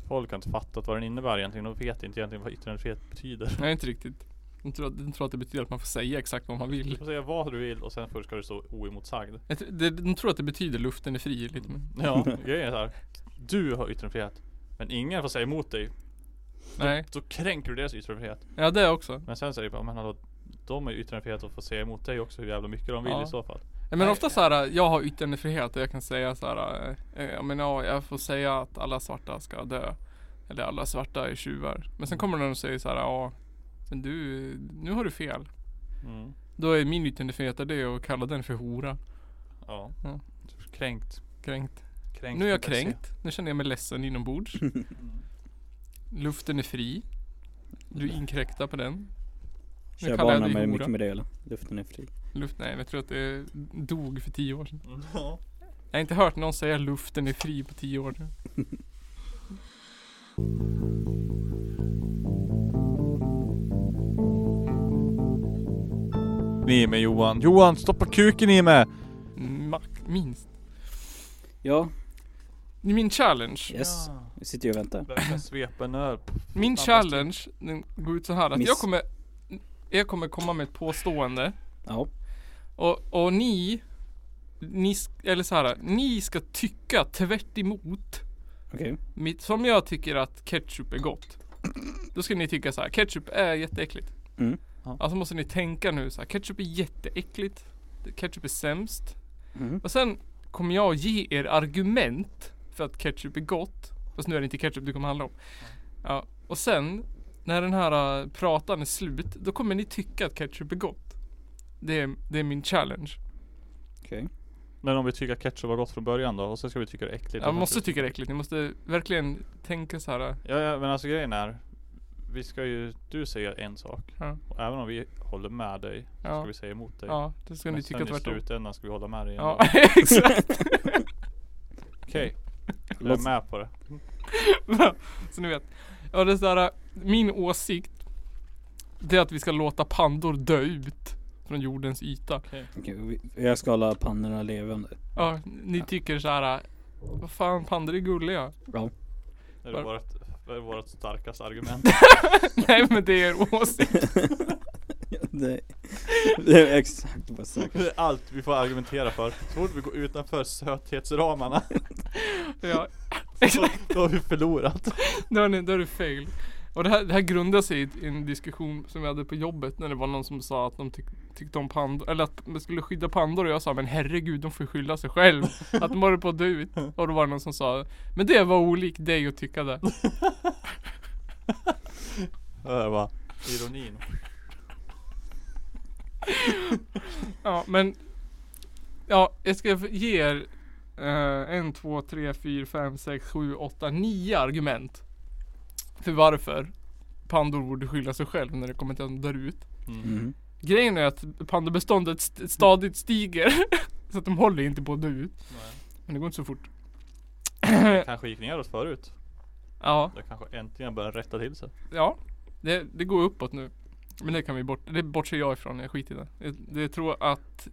Speaker 1: Folk har inte fattat vad den innebär egentligen. De vet inte egentligen vad yttrandefrihet betyder.
Speaker 2: Nej inte riktigt. Jag tror, jag tror att det betyder att man får säga exakt vad man
Speaker 1: Du
Speaker 2: vill.
Speaker 1: får säga vad du vill och sen först ska du stå oemotsagd.
Speaker 2: Jag tror, det, de tror att det betyder luften är fri liksom. lite men,
Speaker 1: Ja, grejen är så här. Du har yttrandefrihet. Men ingen får säga emot dig.
Speaker 2: Nej.
Speaker 1: Då kränker du deras yttrandefrihet.
Speaker 2: Ja det också.
Speaker 1: Men sen säger jag bara, men hallå. De har ju yttrandefrihet och får säga emot dig också hur jävla mycket de vill
Speaker 2: Ja.
Speaker 1: i så fall.
Speaker 2: Ja, men ofta så här, jag har yttrandefrihet och jag kan säga så här, eh, ja, men ja, jag får säga att alla svarta ska dö. Eller alla svarta är tjuvar. Men sen kommer någon och säger så här, ja, men du, nu har du fel.
Speaker 1: Mm.
Speaker 2: Då är min yttrandefrihet det och kalla den för hora.
Speaker 1: Ja.
Speaker 2: Ja.
Speaker 1: Kränkt.
Speaker 2: Kränkt.
Speaker 1: kränkt.
Speaker 2: nu är jag
Speaker 1: punkt se.
Speaker 2: kränkt. Nu känner jag mig ledsen inombords. Luften är fri. Du inkräktar på den.
Speaker 3: Kör
Speaker 2: kallar jag
Speaker 3: barnen
Speaker 2: dig
Speaker 3: med
Speaker 2: hora.
Speaker 3: mycket med det eller? Luften är fri.
Speaker 2: Luft, nej, jag tror att det dog för tio år sedan.
Speaker 1: Mm. Ja.
Speaker 2: Jag har inte hört någon säga luften är fri på tio år nu.
Speaker 1: Ni med Johan. Johan stoppa kuken i mig!
Speaker 2: Max, minst.
Speaker 3: Ja,
Speaker 2: Min challenge.
Speaker 3: yes. Vi sitter ju och väntar.
Speaker 1: Verkar svepa en öl.
Speaker 2: Min
Speaker 1: Fantastiskt.
Speaker 2: challenge den går ut så här att
Speaker 3: Miss.
Speaker 2: jag kommer Jag kommer komma med ett påstående
Speaker 3: Ja,
Speaker 2: och, och ni Ni, sk- eller så här, ni ska tycka tvärt emot
Speaker 3: okej.
Speaker 2: mitt, Som jag tycker att ketchup är gott Då ska ni tycka så här, ketchup är jätteäckligt
Speaker 3: Mm.
Speaker 1: Ja.
Speaker 2: Alltså måste ni tänka nu så här, ketchup är jätteäckligt Ketchup är sämst
Speaker 3: Mm.
Speaker 2: Och sen kommer jag ge er argument för att ketchup är gott. Fast nu är det inte ketchup det kommer handla om. Ja, och sen när den här äh, pratan är slut, då kommer ni tycka att ketchup är gott. Det är, det är min challenge.
Speaker 3: Okej.
Speaker 1: Men om vi tycker att ketchup var gott från början då och sen ska vi tycka det är äckligt.
Speaker 2: Jag måste tycka det är äckligt. Ni måste verkligen tänka så här. äh,
Speaker 1: Ja, ja men alltså grejen är. Vi ska ju, du säger en sak.
Speaker 2: Ja.
Speaker 1: Och även om vi håller med dig så
Speaker 2: Ja.
Speaker 1: ska vi säga emot dig.
Speaker 2: Ja, då ska
Speaker 1: Men
Speaker 2: ni
Speaker 1: sen
Speaker 2: tycka
Speaker 1: i
Speaker 2: tvärtom.
Speaker 1: slutändan ska vi hålla med dig. ändå.
Speaker 2: Ja, exakt.
Speaker 1: Okej. Jag
Speaker 3: Låt-
Speaker 1: är med på det.
Speaker 2: så ni vet. Ja, det är så här, äh, min åsikt. Det är att vi ska låta pandor dö ut. Från jordens yta.
Speaker 3: Okej, vi- Jag ska hålla pannorna levande.
Speaker 2: Ja, ni tycker så här. Vad fan, pandor är gulliga.
Speaker 1: Det är
Speaker 2: Var-
Speaker 1: vårt, det är vårt starkaste argument.
Speaker 2: Nej men det är er åsikt.
Speaker 3: det, det är exakt vad jag sa.
Speaker 1: Det är allt vi får argumentera för. Så fort vi går utanför söthetsramarna,
Speaker 2: Ja,
Speaker 1: då, då har vi förlorat.
Speaker 2: då har ni, då är det fail. Och det här, det här grundar sig i i en diskussion som vi hade på jobbet när det var någon som sa att de tyck, tyckte om pandor, eller att man skulle skydda pandor och jag sa men herregud de får ju skylla sig själv. Att de håller på att dö ut. Och då var det någon som sa men det var olikt dig att tycka det.
Speaker 1: Det där var ironin.
Speaker 2: Ja men Ja jag ska ge er eh, en, två, tre, fyra, fem, sex, sju, åtta, nio argument För varför Pandor borde skylla sig själv när det kommer till att de dör ut
Speaker 1: Mm.
Speaker 3: Mhm.
Speaker 2: Grejen är att pandabeståndet st- stadigt stiger Så att de håller inte på att dö ut
Speaker 1: Nej.
Speaker 2: Men det går inte så fort
Speaker 1: Det kanske gick neråt förut.
Speaker 2: Ja,
Speaker 1: Det kanske äntligen börjar rätta till sig.
Speaker 2: ja det, det går uppåt nu Men det kan vi bort, det bortser jag ifrån, jag skiter i det Jag, det tror att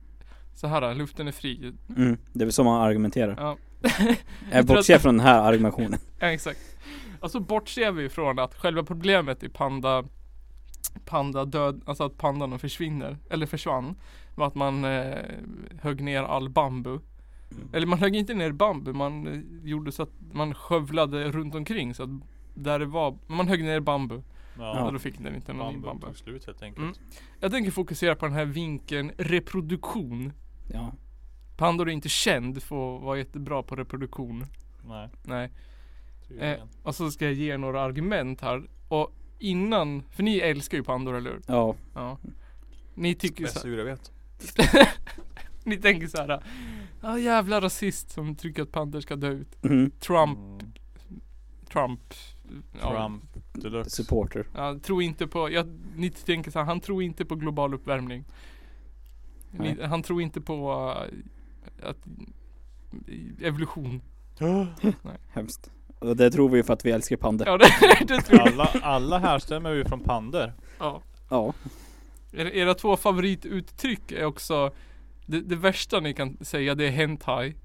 Speaker 2: så här, luften är fri
Speaker 3: Mm. Det är väl så man argumenterar.
Speaker 2: Ja
Speaker 3: Jag
Speaker 2: tror
Speaker 3: bortser
Speaker 2: att-
Speaker 3: från den här argumentationen.
Speaker 2: Ja exakt. Och så bortser vi ifrån att själva problemet i panda Panda död, alltså att pandan försvinner, eller försvann. Var att man eh, högg ner all bambu. Eller man högg inte ner bambu, man eh, gjorde så att man skövlade runt omkring så att där det var, man högg ner bambu.
Speaker 1: Ja.
Speaker 2: Och då fick den inte någon ny
Speaker 1: Bambun
Speaker 2: bambu.
Speaker 1: tog slut helt enkelt.
Speaker 2: Mm. Jag tänker fokusera på den här vinkeln reproduktion.
Speaker 3: Ja.
Speaker 2: Pandor är inte känd för att vara jättebra på reproduktion.
Speaker 1: Nej,
Speaker 2: Nej.
Speaker 1: tydligen.
Speaker 2: Och så Alltså, ska jag ge er några argument här. Och innan, för ni älskar ju pandor eller hur?
Speaker 3: Ja.
Speaker 2: Ja. Ni tycker ju
Speaker 1: Bästa
Speaker 2: så,
Speaker 1: djur jag vet.
Speaker 2: ni tänker så här. Ja jävla rasist som tycker att pandor ska dö ut.
Speaker 3: Mhm.
Speaker 2: Trump,
Speaker 1: Mm.
Speaker 2: Trump. Ja.
Speaker 1: Trump deluxe.
Speaker 3: Supporter.
Speaker 2: Ja, tror inte på, ja, ni tänker så här, han tror inte på global uppvärmning. Ni,
Speaker 3: Nej.
Speaker 2: han tror inte på eh, att evolution.
Speaker 3: Hemskt. Och det tror vi ju för att vi älskar pandor. Ja.
Speaker 2: Ja det, det tror jag.
Speaker 1: Alla, alla härstämmer ju från pander.
Speaker 2: Ja. Era, era två favorituttryck är också det, det värsta ni kan säga det är hentai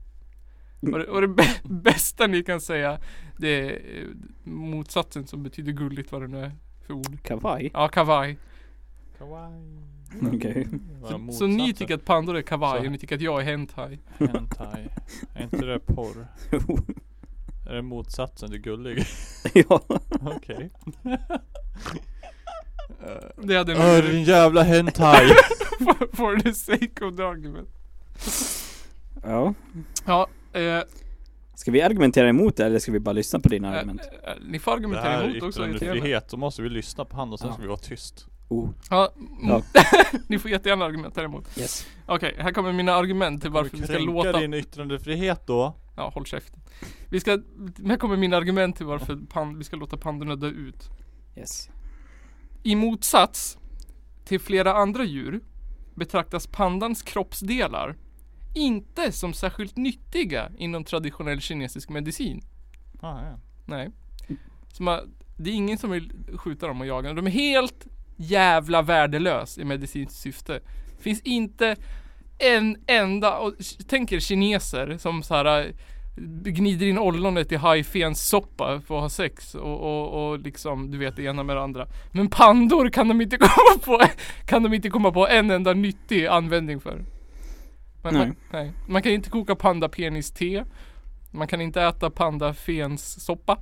Speaker 1: Mm.
Speaker 2: Och det, och det bä- bästa ni kan säga det är eh, motsatsen som betyder gulligt vad det nu är för ord
Speaker 3: Kavaj.
Speaker 2: Ja kavaj
Speaker 1: Kawaii.
Speaker 3: Okej.
Speaker 2: Så, så ni tycker att pandor är kavaj och ni tycker att jag är hentai
Speaker 1: Hentai. Är inte det porr?
Speaker 3: Jo.
Speaker 1: Är det motsatsen till gullig?
Speaker 3: ja.
Speaker 1: Okej.
Speaker 2: Det hade
Speaker 1: Åh
Speaker 2: nog
Speaker 1: din jävla hentai!
Speaker 2: for, for the sake of the argument
Speaker 3: Ja.
Speaker 2: Ja eh,
Speaker 3: Ska vi argumentera emot det eller ska vi bara lyssna på dina
Speaker 2: eh,
Speaker 3: argument?
Speaker 2: eh, ni får
Speaker 1: Det
Speaker 2: argumentera
Speaker 1: här
Speaker 2: emot
Speaker 1: är
Speaker 2: också jättegärna.
Speaker 1: yttrandefrihet, då måste vi lyssna på han och sen
Speaker 3: Ja.
Speaker 1: ska vi vara tyst.
Speaker 3: Oh,
Speaker 2: Ja,
Speaker 3: Ja.
Speaker 2: ni får jättegärna argumentera emot
Speaker 3: yes.
Speaker 2: Okej, här kommer mina argument till varför
Speaker 1: Kommer
Speaker 2: vi ska
Speaker 1: kränka
Speaker 2: låta
Speaker 1: din yttrandefrihet då? Ah,
Speaker 2: Ja, håll käften. Vi ska, här kommer mina argument till varför pan, vi ska låta pandorna dö ut.
Speaker 3: Yes.
Speaker 2: I motsats till flera andra djur betraktas pandans kroppsdelar inte som särskilt nyttiga inom traditionell kinesisk medicin.
Speaker 1: Ah, ja.
Speaker 2: Nej. Så man, det är ingen som vill skjuta dem och jaga dem. De är helt jävla värdelös i medicinskt syfte. Finns inte en enda, och k- tänk er kineser som så här eh, gnider in ollonet i hajfens soppa för att ha sex och, och, och liksom du vet det ena med det andra. Men pandor kan de inte komma på, kan de inte komma på en enda nyttig användning för. Man,
Speaker 3: Nej.
Speaker 2: Man, nej. man kan inte koka pandapenis-te. Man kan inte äta pandafens soppa.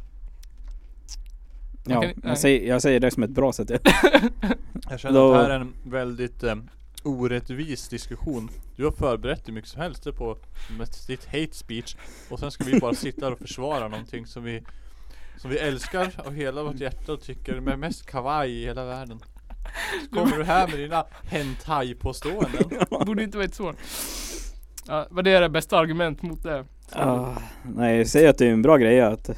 Speaker 3: Ja,
Speaker 2: Okej, nej.
Speaker 3: jag, säger, jag säger det som ett bra sätt.
Speaker 1: Jag känner
Speaker 3: Då-
Speaker 1: att det här är en väldigt eh, orättvis diskussion. Du har förberett hur mycket som helst på med ditt hate speech och sen ska vi bara sitta här och försvara någonting som vi som vi älskar av hela vårt hjärta och tycker är mest kavaj i hela världen. Så kommer du här med dina hentai-påståenden.
Speaker 2: Borde inte varit svårt. Ja, vad det är det bästa argument mot det.
Speaker 3: Ah, nej, säg att det är en bra grej att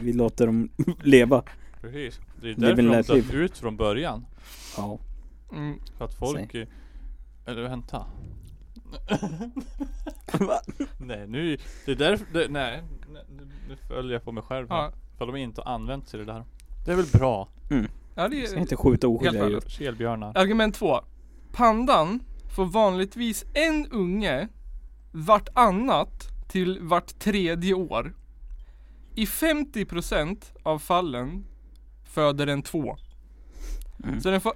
Speaker 3: vi låter dem leva.
Speaker 1: Precis. Det är
Speaker 3: Det är väl
Speaker 1: därför de
Speaker 3: lätt
Speaker 1: dök ut från början.
Speaker 3: Ja.
Speaker 2: Mm.
Speaker 1: För att folk... eh, Eller vänta.
Speaker 3: Va?
Speaker 1: Nej nu, det är därför, det, nej. nu- Nu följer jag på mig själv här.
Speaker 2: Ja.
Speaker 1: För de inte har använt sig det där. Det är väl bra?
Speaker 2: Ja, det
Speaker 3: Jag
Speaker 2: är,
Speaker 3: ska inte skjuta oskyldiga
Speaker 2: Helt
Speaker 3: djur.
Speaker 1: Kelbjörnar.
Speaker 2: Argument två. Pandan får vanligtvis en unge vartannat till vart tredje år. I 50% av fallen föder den två.
Speaker 3: Mm.
Speaker 2: Så den får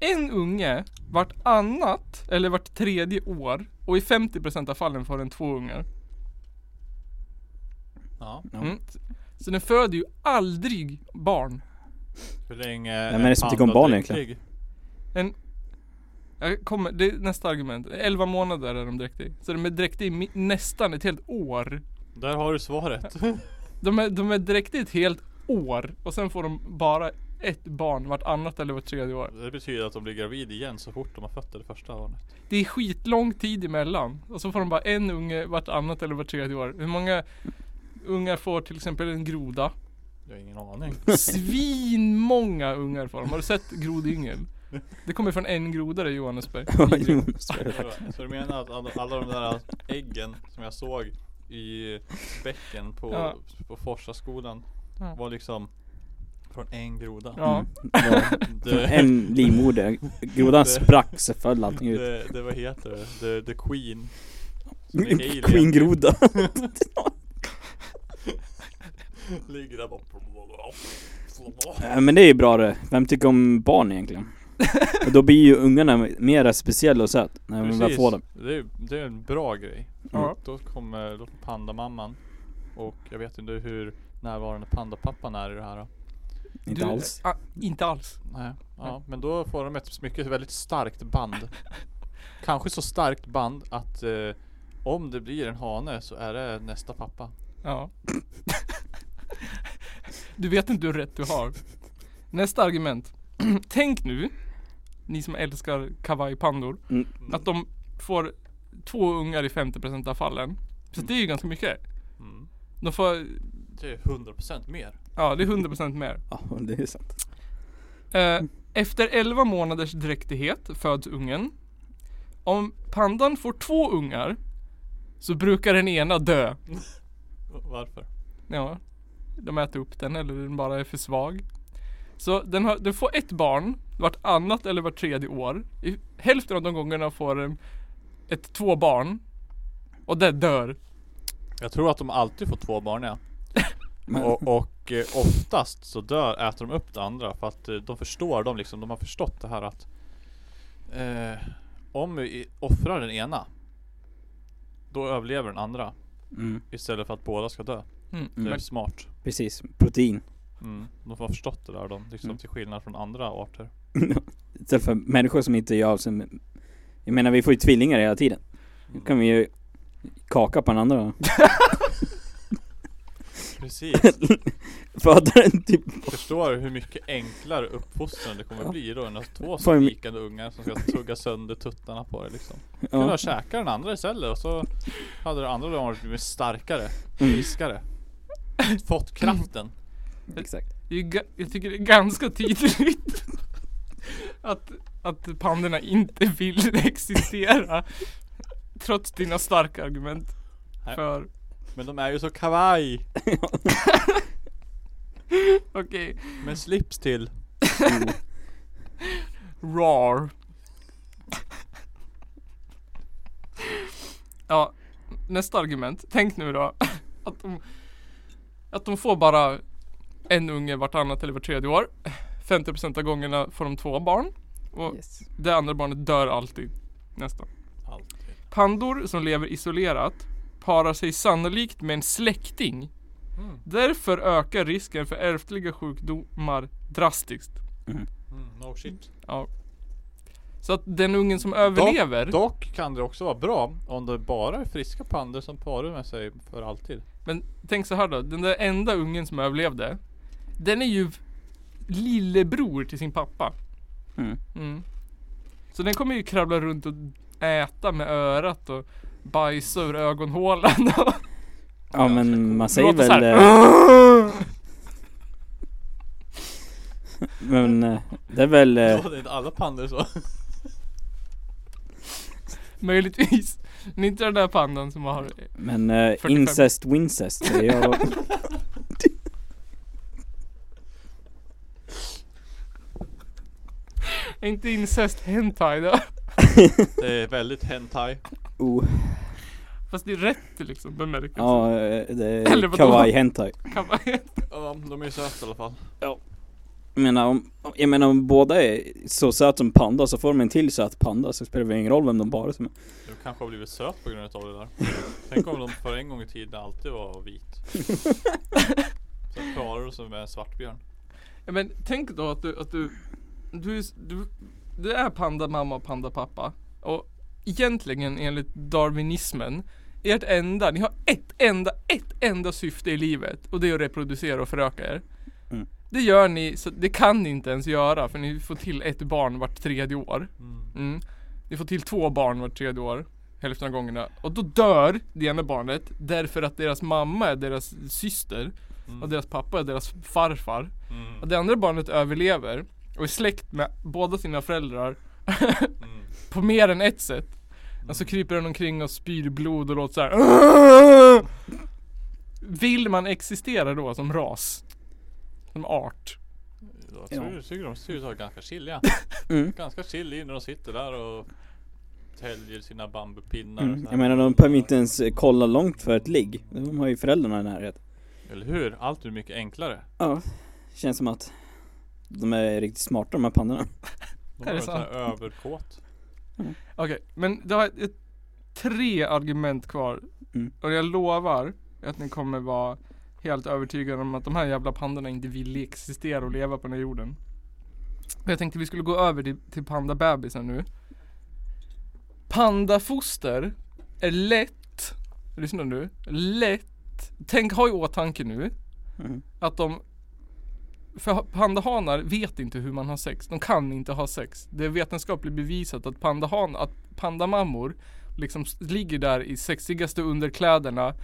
Speaker 2: en unge vartannat eller vart tredje år och i 50% av fallen får den två ungar.
Speaker 1: Ja.
Speaker 2: Mm. Så den föder ju aldrig barn.
Speaker 1: Hur länge...
Speaker 3: Vem är det som tycker om barn egentligen?
Speaker 2: Jag kommer, det är nästa argument. 11 månader är de dräktiga. Så de är dräktiga i mi- nästan ett helt år.
Speaker 1: Där har du svaret.
Speaker 2: De är, de är dräktiga i ett helt år och sen får de bara ett barn vartannat eller vart tredje år.
Speaker 1: Det betyder att de blir gravid igen så fort de har fött det första barnet.
Speaker 2: Det är skitlång tid emellan och så får de bara en unge vartannat eller vart tredje år. Hur många ungar får till exempel en groda?
Speaker 1: Jag har ingen aning.
Speaker 2: Svinmånga ungar får de. Har du sett grodyngel? Det kommer från en groda det Johannesberg.
Speaker 3: Jonas, vad är det för-
Speaker 1: Så du menar att alla, alla de där äggen som jag såg i bäcken på,
Speaker 2: Ja.
Speaker 1: på Forsaskolan
Speaker 2: Ja.
Speaker 1: var liksom från en groda?
Speaker 2: Ja.
Speaker 3: Mm. Ja,
Speaker 1: Det,
Speaker 3: en livmoder. Grodan sprack så föll allting ut.
Speaker 1: det, det, vad heter det? The, the Queen. Som
Speaker 3: Mm,
Speaker 1: är alien.
Speaker 3: Queen-groda.
Speaker 1: Ligger där bara.
Speaker 3: Ja, men det är ju bra det. Vem tycker om barn egentligen? Och då blir ju ungarna mera speciella och söt. När man väl
Speaker 1: Precis.
Speaker 3: får dem.
Speaker 1: Det är, det är en bra grej.
Speaker 2: Ja.
Speaker 1: Då kommer då kommer pandamamman. Och jag vet inte hur närvarande pandapappan är i det här. Då.
Speaker 3: Inte
Speaker 2: Du-
Speaker 3: alls.
Speaker 2: Ah, inte alls.
Speaker 1: Nej, ja, men då får de ett mycket väldigt starkt band. Kanske så starkt band att eh, om det blir en hane så är det nästa pappa.
Speaker 2: Ja. Du vet inte hur rätt du har. Nästa argument. Tänk nu, ni som älskar kavajpandor,
Speaker 3: Mm.
Speaker 2: att de får två ungar i 50% av fallen. Så det är ju ganska mycket.
Speaker 1: Mm.
Speaker 2: De får,
Speaker 1: Det är 100% mer.
Speaker 2: ja det är 100% mer.
Speaker 3: Ja, det är sant.
Speaker 2: Eh, efter 11 månaders dräktighet föds ungen. Om pandan får två ungar så brukar den ena dö.
Speaker 1: Varför?
Speaker 2: Ja. De äter upp den eller den bara är för svag. Så den, har, den får ett barn vartannat eller vart tredje år. I hälften av de gångerna får den ett två barn. Och det dör.
Speaker 1: Jag tror att de alltid får två barn ja.
Speaker 3: Men-
Speaker 1: Och, och eh, oftast så dör, äter de upp det andra för att eh, de förstår, de liksom, de har förstått det här att eh, om vi offrar den ena då överlever den andra
Speaker 3: Mm,
Speaker 1: istället för att båda ska dö.
Speaker 2: Mm.
Speaker 1: Det är
Speaker 2: Men,
Speaker 1: smart.
Speaker 3: precis. Protein.
Speaker 1: Mm, de har förstått det där de, liksom till skillnad från andra arter.
Speaker 3: Istället för människor som inte gör som... Jag menar vi får ju tvillingar hela tiden. Då kan vi ju kaka på den andra.
Speaker 1: Precis.
Speaker 3: Föda den typ.
Speaker 1: Förstår du hur mycket enklare uppfostran det kommer bli då än att två
Speaker 3: Får jag-
Speaker 1: skrikande ungar som ska tugga sönder tuttarna på det liksom. Kunde
Speaker 3: Ja.
Speaker 1: ha käkat den andra istället och så hade den andra varit blivit starkare,
Speaker 3: Mm.
Speaker 1: friskare. Fått kraften.
Speaker 3: Exakt.
Speaker 2: det är, ju ga- jag tycker det är ganska tydligt att, att pandorna inte vill existera. Trots dina starka argument.
Speaker 1: Nej.
Speaker 2: För,
Speaker 1: Men de är ju så kavaj!
Speaker 2: okej,
Speaker 1: Med slips till.
Speaker 3: Mm.
Speaker 2: Rar. ja, nästa argument. Tänk nu då att de, att de får bara en unge vartannat eller vart tredje år. 50% av gångerna får de två barn. Och
Speaker 3: Yes.
Speaker 2: det andra barnet dör alltid. Nästan.
Speaker 1: Alltid.
Speaker 2: Pandor som lever isolerat parar sig sannolikt med en släkting.
Speaker 1: Mm.
Speaker 2: Därför ökar risken för ärftliga sjukdomar drastiskt.
Speaker 1: Mm, no shit.
Speaker 2: Ja. Så att den ungen som överlever.
Speaker 1: Dock kan det också vara bra om det bara är friska pandor som parar med sig för alltid.
Speaker 2: Men tänk så här då. Den där enda ungen som överlevde. Den är ju lillebror till sin pappa.
Speaker 3: Mm.
Speaker 2: Mm. Så den kommer ju kravla runt och äta med örat och bajsa ur ögonhålan.
Speaker 3: Ja men man säger
Speaker 2: Låter så
Speaker 3: väl...
Speaker 2: här.
Speaker 3: eh, Men eh, det är väl... eh,
Speaker 1: Ja, det är inte alla pandor så.
Speaker 2: Möjligtvis. Men inte den där pandan som har...
Speaker 3: Men eh,
Speaker 2: 45.
Speaker 3: incest wincest säger jag då.
Speaker 2: Är inte incest hentai då?
Speaker 1: Det är väldigt hentai.
Speaker 3: oh.
Speaker 2: Fast det är rätt liksom bemärkelse.
Speaker 3: Ja, eh, det
Speaker 2: Eller
Speaker 3: är
Speaker 2: vadå?
Speaker 3: kawaii hentai.
Speaker 2: Kan man-
Speaker 1: Ja, de är ju söta i alla fall.
Speaker 3: Jag menar, om, jag menar om båda är så söt som panda så får de en till söt panda så spelar det ingen roll vem de bara som är.
Speaker 1: Du kanske har blivit söt på grund av det där. Tänk om de för en gång i tiden alltid var vit. Sen klarar du sig med en svartbjörn.
Speaker 2: Ja, men tänk då att du, att du, du, är- du, du är pandamamma och pandapappa. Och egentligen enligt darwinismen, ert enda, ni har ett enda, ett enda syfte i livet och det är att reproducera och föröka er.
Speaker 3: Mm.
Speaker 2: Det gör ni, så det kan ni inte ens göra för ni får till ett barn vart tredje år. Mm. Ni får till två barn vart tredje år. Hälften av gångerna. Och då dör det ena barnet därför att deras mamma är deras syster
Speaker 1: mm,
Speaker 2: och deras pappa är deras farfar. Och det andra barnet överlever och är släkt med båda sina föräldrar på mer än ett sätt. Och så kryper den omkring och spyr blod och låter så här. Vill man existera då som ras? Som art?
Speaker 1: Jag
Speaker 3: Ja.
Speaker 1: tror- tycker de ser ut att vara ganska chilliga.
Speaker 3: Mm.
Speaker 1: Ganska chilliga när de sitter där och täljer sina bambupinnar. och
Speaker 3: Mm.
Speaker 1: sådär.
Speaker 3: Jag menar de behöver inte ens eh, kolla långt för ett ligg. De har ju föräldrarna i närheten.
Speaker 1: Eller hur? Allt är mycket enklare.
Speaker 3: Ja, känns som att de är riktigt smarta de här pandorna.
Speaker 1: De
Speaker 2: Är
Speaker 1: är
Speaker 2: det
Speaker 1: så här överkåt.
Speaker 2: Okej, men det har ett, tre argument kvar.
Speaker 3: Mm.
Speaker 2: Och jag lovar att ni kommer vara helt övertygade om att de här jävla pandorna inte vill existera och leva på den här jorden. Och Jag tänkte vi skulle gå över till, till pandabebisen nu. Pandafoster är lätt, lyssna nu, lätt, tänk, ha i åtanke nu
Speaker 3: Mm.
Speaker 2: att de för pandahanar vet inte hur man har sex. De kan inte ha sex. Det är vetenskapligt bevisat att pandahan, att pandamammor liksom s- ligger där i sexigaste underkläderna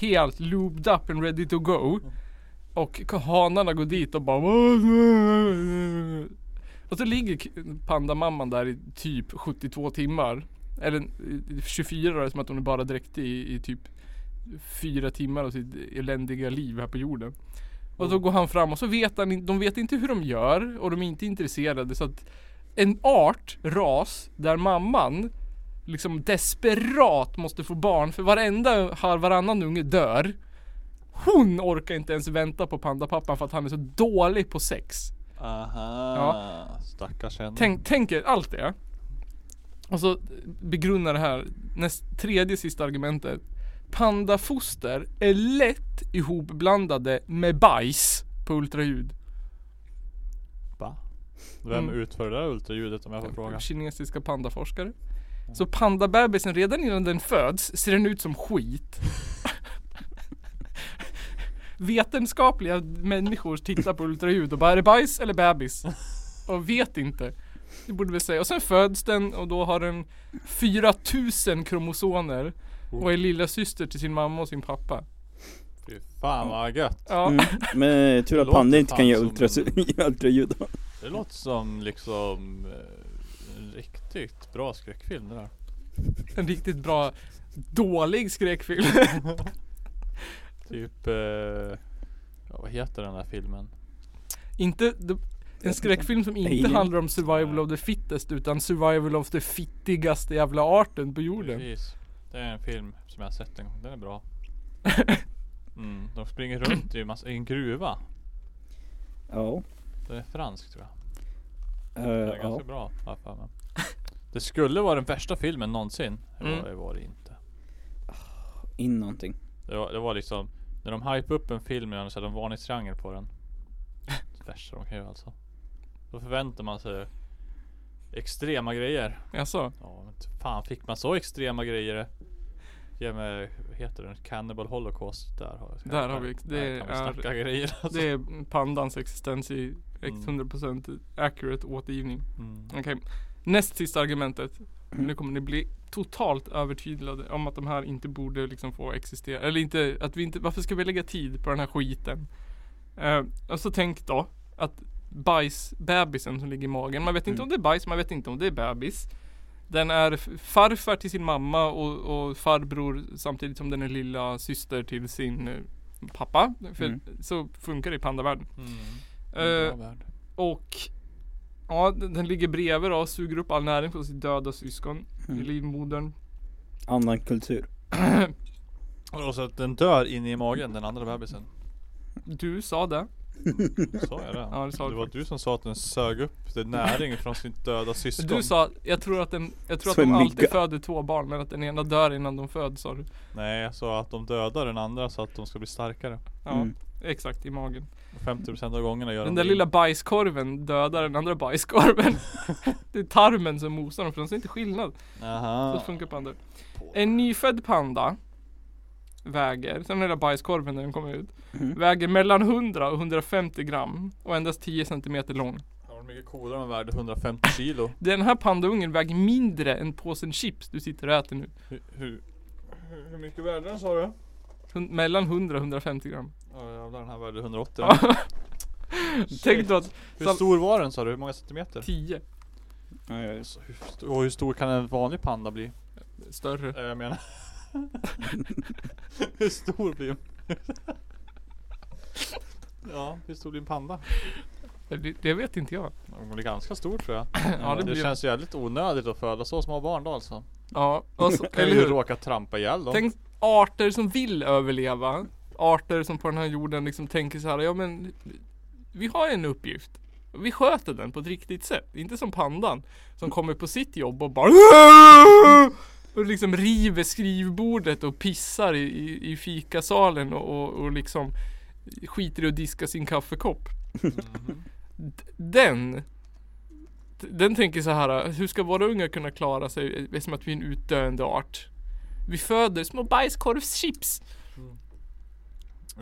Speaker 2: helt lubed up and ready to go. Och k- hanarna går dit och bara Och så ligger k- pandamamman där i typ 72 timmar. Eller eh, 24 då, som att hon är bara dräktig i, i typ fyra timmar av sitt eländiga liv här på jorden. Och då går han fram och så vet han in- de vet inte hur de gör och de är inte intresserade så att en art, ras, där mamman liksom desperat måste få barn för varenda, har varannan unge dör. Hon orkar inte ens vänta på pandapappan för att han är så dålig på sex.
Speaker 1: Aha. Ja. Stackars henne.
Speaker 2: Tänk, tänk er allt det. Och så begrunna det här näst, tredje sista argumentet. Pandafoster är lätt ihopblandade med bajs på ultraljud.
Speaker 1: Va? Vem
Speaker 2: Mm.
Speaker 1: utför det där ultraljudet om jag får fråga?
Speaker 2: Typ Kinesiska pandaforskare. Så pandabebisen redan innan den föds ser den ut som skit. Vetenskapliga människor tittar på ultraljud och bara är det bajs eller bebis? Och vet inte. Det borde vi säga. Och sen föds den och då har den 4000 kromosomer. Och är lilla syster till sin mamma och sin pappa.
Speaker 1: Fy fan vad gött.
Speaker 2: Ja.
Speaker 3: Mm. Men tur att
Speaker 1: låter
Speaker 3: pandor inte
Speaker 1: fan
Speaker 3: kan göra
Speaker 1: som
Speaker 3: ultra, ultraljud.
Speaker 1: Det låter som liksom eh, en riktigt bra skräckfilm det där.
Speaker 2: En riktigt bra dålig skräckfilm.
Speaker 1: Typ eh, ja, vad heter den där filmen?
Speaker 2: inte de- en skräckfilm som inte
Speaker 3: Alien.
Speaker 2: handlar om survival of the fittest utan survival of the fittigaste jävla arten på jorden.
Speaker 1: Precis. Det är en film som jag har sett en gång. Den är bra. Mm, de springer runt i, en massa, i en gruva.
Speaker 3: Ja.
Speaker 1: Den är fransk tror jag.
Speaker 3: Eh,
Speaker 1: Den är
Speaker 3: ja.
Speaker 1: ganska bra har jag för mig. Det skulle vara den värsta filmen någonsin. Det var,
Speaker 2: Mm.
Speaker 1: det, var det inte.
Speaker 3: In någonting.
Speaker 1: Det var, det var liksom när de hypade upp en film och så hade de varningstriangel på den. Det värsta de kan göra alltså. Då förväntar man sig extrema grejer.
Speaker 2: Jaså?
Speaker 1: Ja, men t- fan fick man så extrema grejer? Ge mig, vad heter den? Cannibal Holocaust. Där har, jag-
Speaker 2: Där har vi- det
Speaker 1: där kan vi
Speaker 2: är-
Speaker 1: snacka grejer alltså.
Speaker 2: Det är pandans existens i ex- 100% accurate återgivning.
Speaker 1: Mm.
Speaker 2: Okej. Näst sista argumentet. Nu kommer ni bli totalt övertydlade om att de här inte borde liksom få existera. Eller inte, att vi inte, varför ska vi lägga tid på den här skiten? Eh, och så tänk då att bajs, bebisen som ligger i magen. Man vet inte om det är bajs, man vet inte om det är bebis. Den är f- farfar till sin mamma och, och farbror samtidigt som den är lilla syster till sin eh, pappa. För
Speaker 3: Mm.
Speaker 2: så funkar det i pandavärlden.
Speaker 1: Mm.
Speaker 2: Eh,
Speaker 1: Bra värld.
Speaker 2: och ja, den, den ligger
Speaker 3: Mm.
Speaker 2: bredvid då och suger upp all näring från sitt döda syskon i livmodern.
Speaker 3: Annan kultur.
Speaker 1: Och då så att den dör inne i magen, den andra bebisen.
Speaker 2: Du sa det.
Speaker 1: Sa jag det?
Speaker 2: Ja, det sa
Speaker 1: det
Speaker 2: du
Speaker 1: var du som sa att den sög upp det näring från sin döda syskon.
Speaker 2: Du sa, jag tror att, den, jag tror att
Speaker 3: Så
Speaker 2: de
Speaker 3: en
Speaker 2: alltid
Speaker 3: mygga.
Speaker 2: föder två barn men att den ena dör innan de föds sa du.
Speaker 1: Nej, jag sa att de dödar den andra så att de ska bli starkare.
Speaker 2: Ja,
Speaker 3: Mm.
Speaker 2: exakt i magen.
Speaker 1: Och 50% av gångerna gör
Speaker 2: Den
Speaker 1: de
Speaker 2: där
Speaker 1: det.
Speaker 2: lilla bajskorven dödar den andra bajskorven. det är tarmen som mosar dem för de ser inte skillnad. Så
Speaker 1: Aha.
Speaker 2: funkar pandor. En nyfödd panda väger, sen den där bajskorven när den kommer ut,
Speaker 3: Mhm.
Speaker 2: väger mellan 100 och 150 gram och endast 10 centimeter lång.
Speaker 1: Ja, de är mycket coolare om de värde 150 kilo.
Speaker 2: Den här pandaungen väger mindre än påsen chips du sitter och äter nu.
Speaker 1: Hur, hur, hur mycket värde den sa du?
Speaker 2: Hun- Mellan 100 och 150 gram.
Speaker 1: Ja jävlar den här värde 180.
Speaker 2: Tänk då att
Speaker 1: Hur stor var den sa du? Hur många centimeter?
Speaker 2: 10
Speaker 3: Ja, ja,
Speaker 1: Så hur st- Och hur stor kan en vanlig panda bli?
Speaker 2: större.
Speaker 1: Äh, jag menar Hur stor blir en Ja, hur stor blir en panda?
Speaker 2: Det, det vet inte jag.
Speaker 1: Den blir ganska stor tror jag
Speaker 2: Ja, det
Speaker 1: det,
Speaker 2: blir-
Speaker 1: känns jävligt onödigt att föda så små barn då alltså
Speaker 2: Ja, och så,
Speaker 1: Kan
Speaker 2: eller
Speaker 1: ju
Speaker 2: hur?
Speaker 1: råka trampa ihjäl dem
Speaker 2: Tänk arter som vill överleva. Arter som på den här jorden liksom tänker så här, ja men vi har en uppgift. Vi sköter den på ett riktigt sätt. Inte som pandan som kommer på sitt jobb och bara och liksom river skrivbordet och pissar i, i, i fikasalen och, och, och liksom skiter i att diska sin kaffekopp. D- Den den tänker så här, hur ska våra unga kunna klara sig eftersom att vi är en utdöende art? Vi föder små bajskorvschips.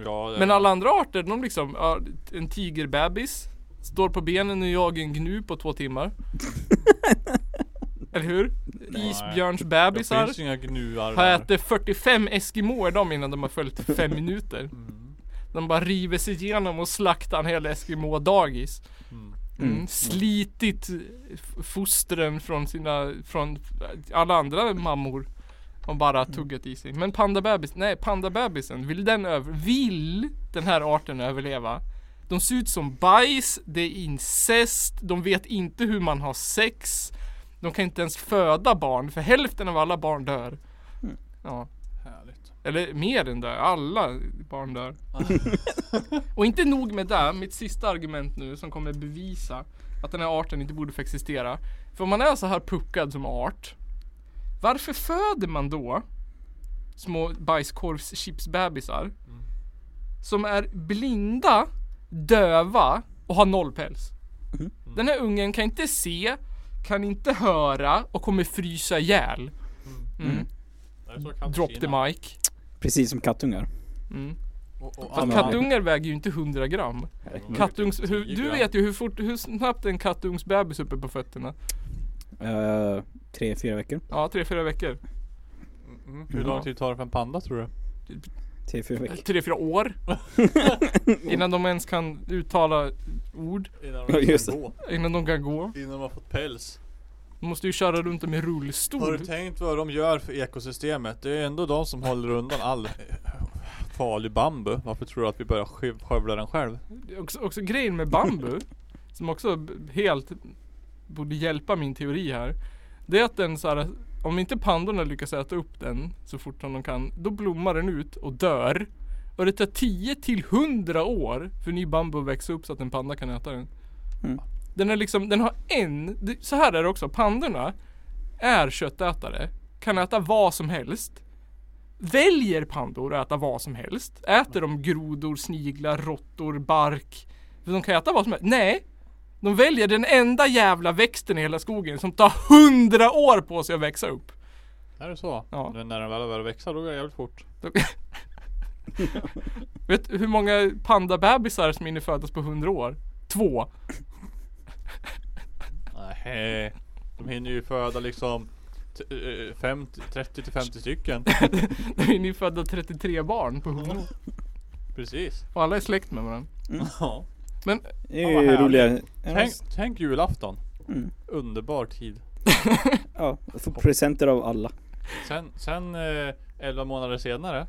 Speaker 1: ja,
Speaker 2: Men alla andra arter, de liksom, ja, en tigerbebis står på benen och jagar en gnu på två timmar. Eller hur?
Speaker 1: Det
Speaker 2: Isbjörnsbebisar
Speaker 1: finns ju inga gnuar
Speaker 2: har
Speaker 1: där.
Speaker 2: ätit 45 eskimoer dem innan de har följt fem minuter.
Speaker 1: Mm.
Speaker 2: De bara river sig igenom och slaktar en hel eskimo-dagis. Mm. Slitit f- fostren från sina, från alla andra mammor. Och bara tuggat i sig. Men pandabebis, nej pandabebisen, vill den över, vill den här arten överleva? De ser ut som bajs, det är incest, de vet inte hur man har sex. De kan inte ens föda barn, för hälften av alla barn dör. Ja.
Speaker 1: Härligt
Speaker 2: Eller mer än det, alla barn dör. och inte nog med det, mitt sista argument nu som kommer bevisa att den här arten inte borde få existera. För om man är så här puckad som art, varför föder man då små bajskorvschipsbebisar som är blinda, döva och har noll päls? Den här ungen kan inte se, kan inte höra och kommer frysa ihjäl. Mm.
Speaker 1: Det är så kallt i
Speaker 2: Drop the
Speaker 1: Kina.
Speaker 2: mic. Mm.
Speaker 3: precis som kattungar.
Speaker 1: Och, och,
Speaker 2: Fast
Speaker 3: Ja,
Speaker 1: alla-
Speaker 3: men-
Speaker 2: kattungar väger ju inte 100 gram.
Speaker 1: Mm.
Speaker 2: Kattungs, hur, du vet ju hur, fort, hur snabbt en kattungsbebis uppe på fötterna.
Speaker 3: Eh, tre, fyra veckor.
Speaker 2: Ja, tre, fyra veckor.
Speaker 1: Mm. Hur lång tid tar det för en panda tror du?
Speaker 3: Tre, fyra veckor.
Speaker 2: Eh, Tre, fyra år. innan de ens kan uttala ord.
Speaker 1: Innan
Speaker 3: Ja, just det.
Speaker 1: gå?
Speaker 2: Innan de kan gå.
Speaker 1: Innan de har fått päls?
Speaker 2: De måste ju köra runt dem i
Speaker 1: Har du
Speaker 2: rullstol.
Speaker 1: tänkt vad de gör för ekosystemet? Det är ändå de som håller undan all eh, farlig bambu. Varför tror du att vi börjar skiv- skövla den själv?
Speaker 2: Det är Också, också grejen med bambu. som också b- helt borde hjälpa min teori här. Det är att den så här, om inte pandorna lyckas äta upp den så fort som de kan, då blommar den ut och dör. Och det tar 10 till 100 år för ny bambu att växa upp så att en panda kan äta den.
Speaker 3: Mm.
Speaker 2: Den är liksom, den har en, det- så här är det också, pandorna är köttätare, kan äta vad som helst. Väljer pandor att äta vad som helst? Äter de grodor, sniglar, råttor, bark? För de kan äta vad som helst. Nej, de väljer den enda jävla växten i hela skogen som tar hundra år på sig att växa upp.
Speaker 1: Är det så?
Speaker 2: Ja.
Speaker 1: Men När den väl börjar växa då går det jävligt fort.
Speaker 2: Vet du hur många pandabebisar som hinner födas på hundra år? Två.
Speaker 1: Nej. De hinner ju föda liksom t- eh, 50, 30 till 50 stycken.
Speaker 2: De hinner ju föda 33 barn på hundra år.
Speaker 1: Precis.
Speaker 2: Och alla är släkt med varandra.
Speaker 1: Ja.
Speaker 2: Men
Speaker 3: Det
Speaker 1: Ja,
Speaker 3: är
Speaker 1: vad
Speaker 3: ju
Speaker 1: härligt.
Speaker 3: roligare.
Speaker 1: Tänk, tänk julafton.
Speaker 3: Mm.
Speaker 1: Underbar tid.
Speaker 3: Ja, få presenter av alla.
Speaker 1: Sen, sen eh, 11 månader senare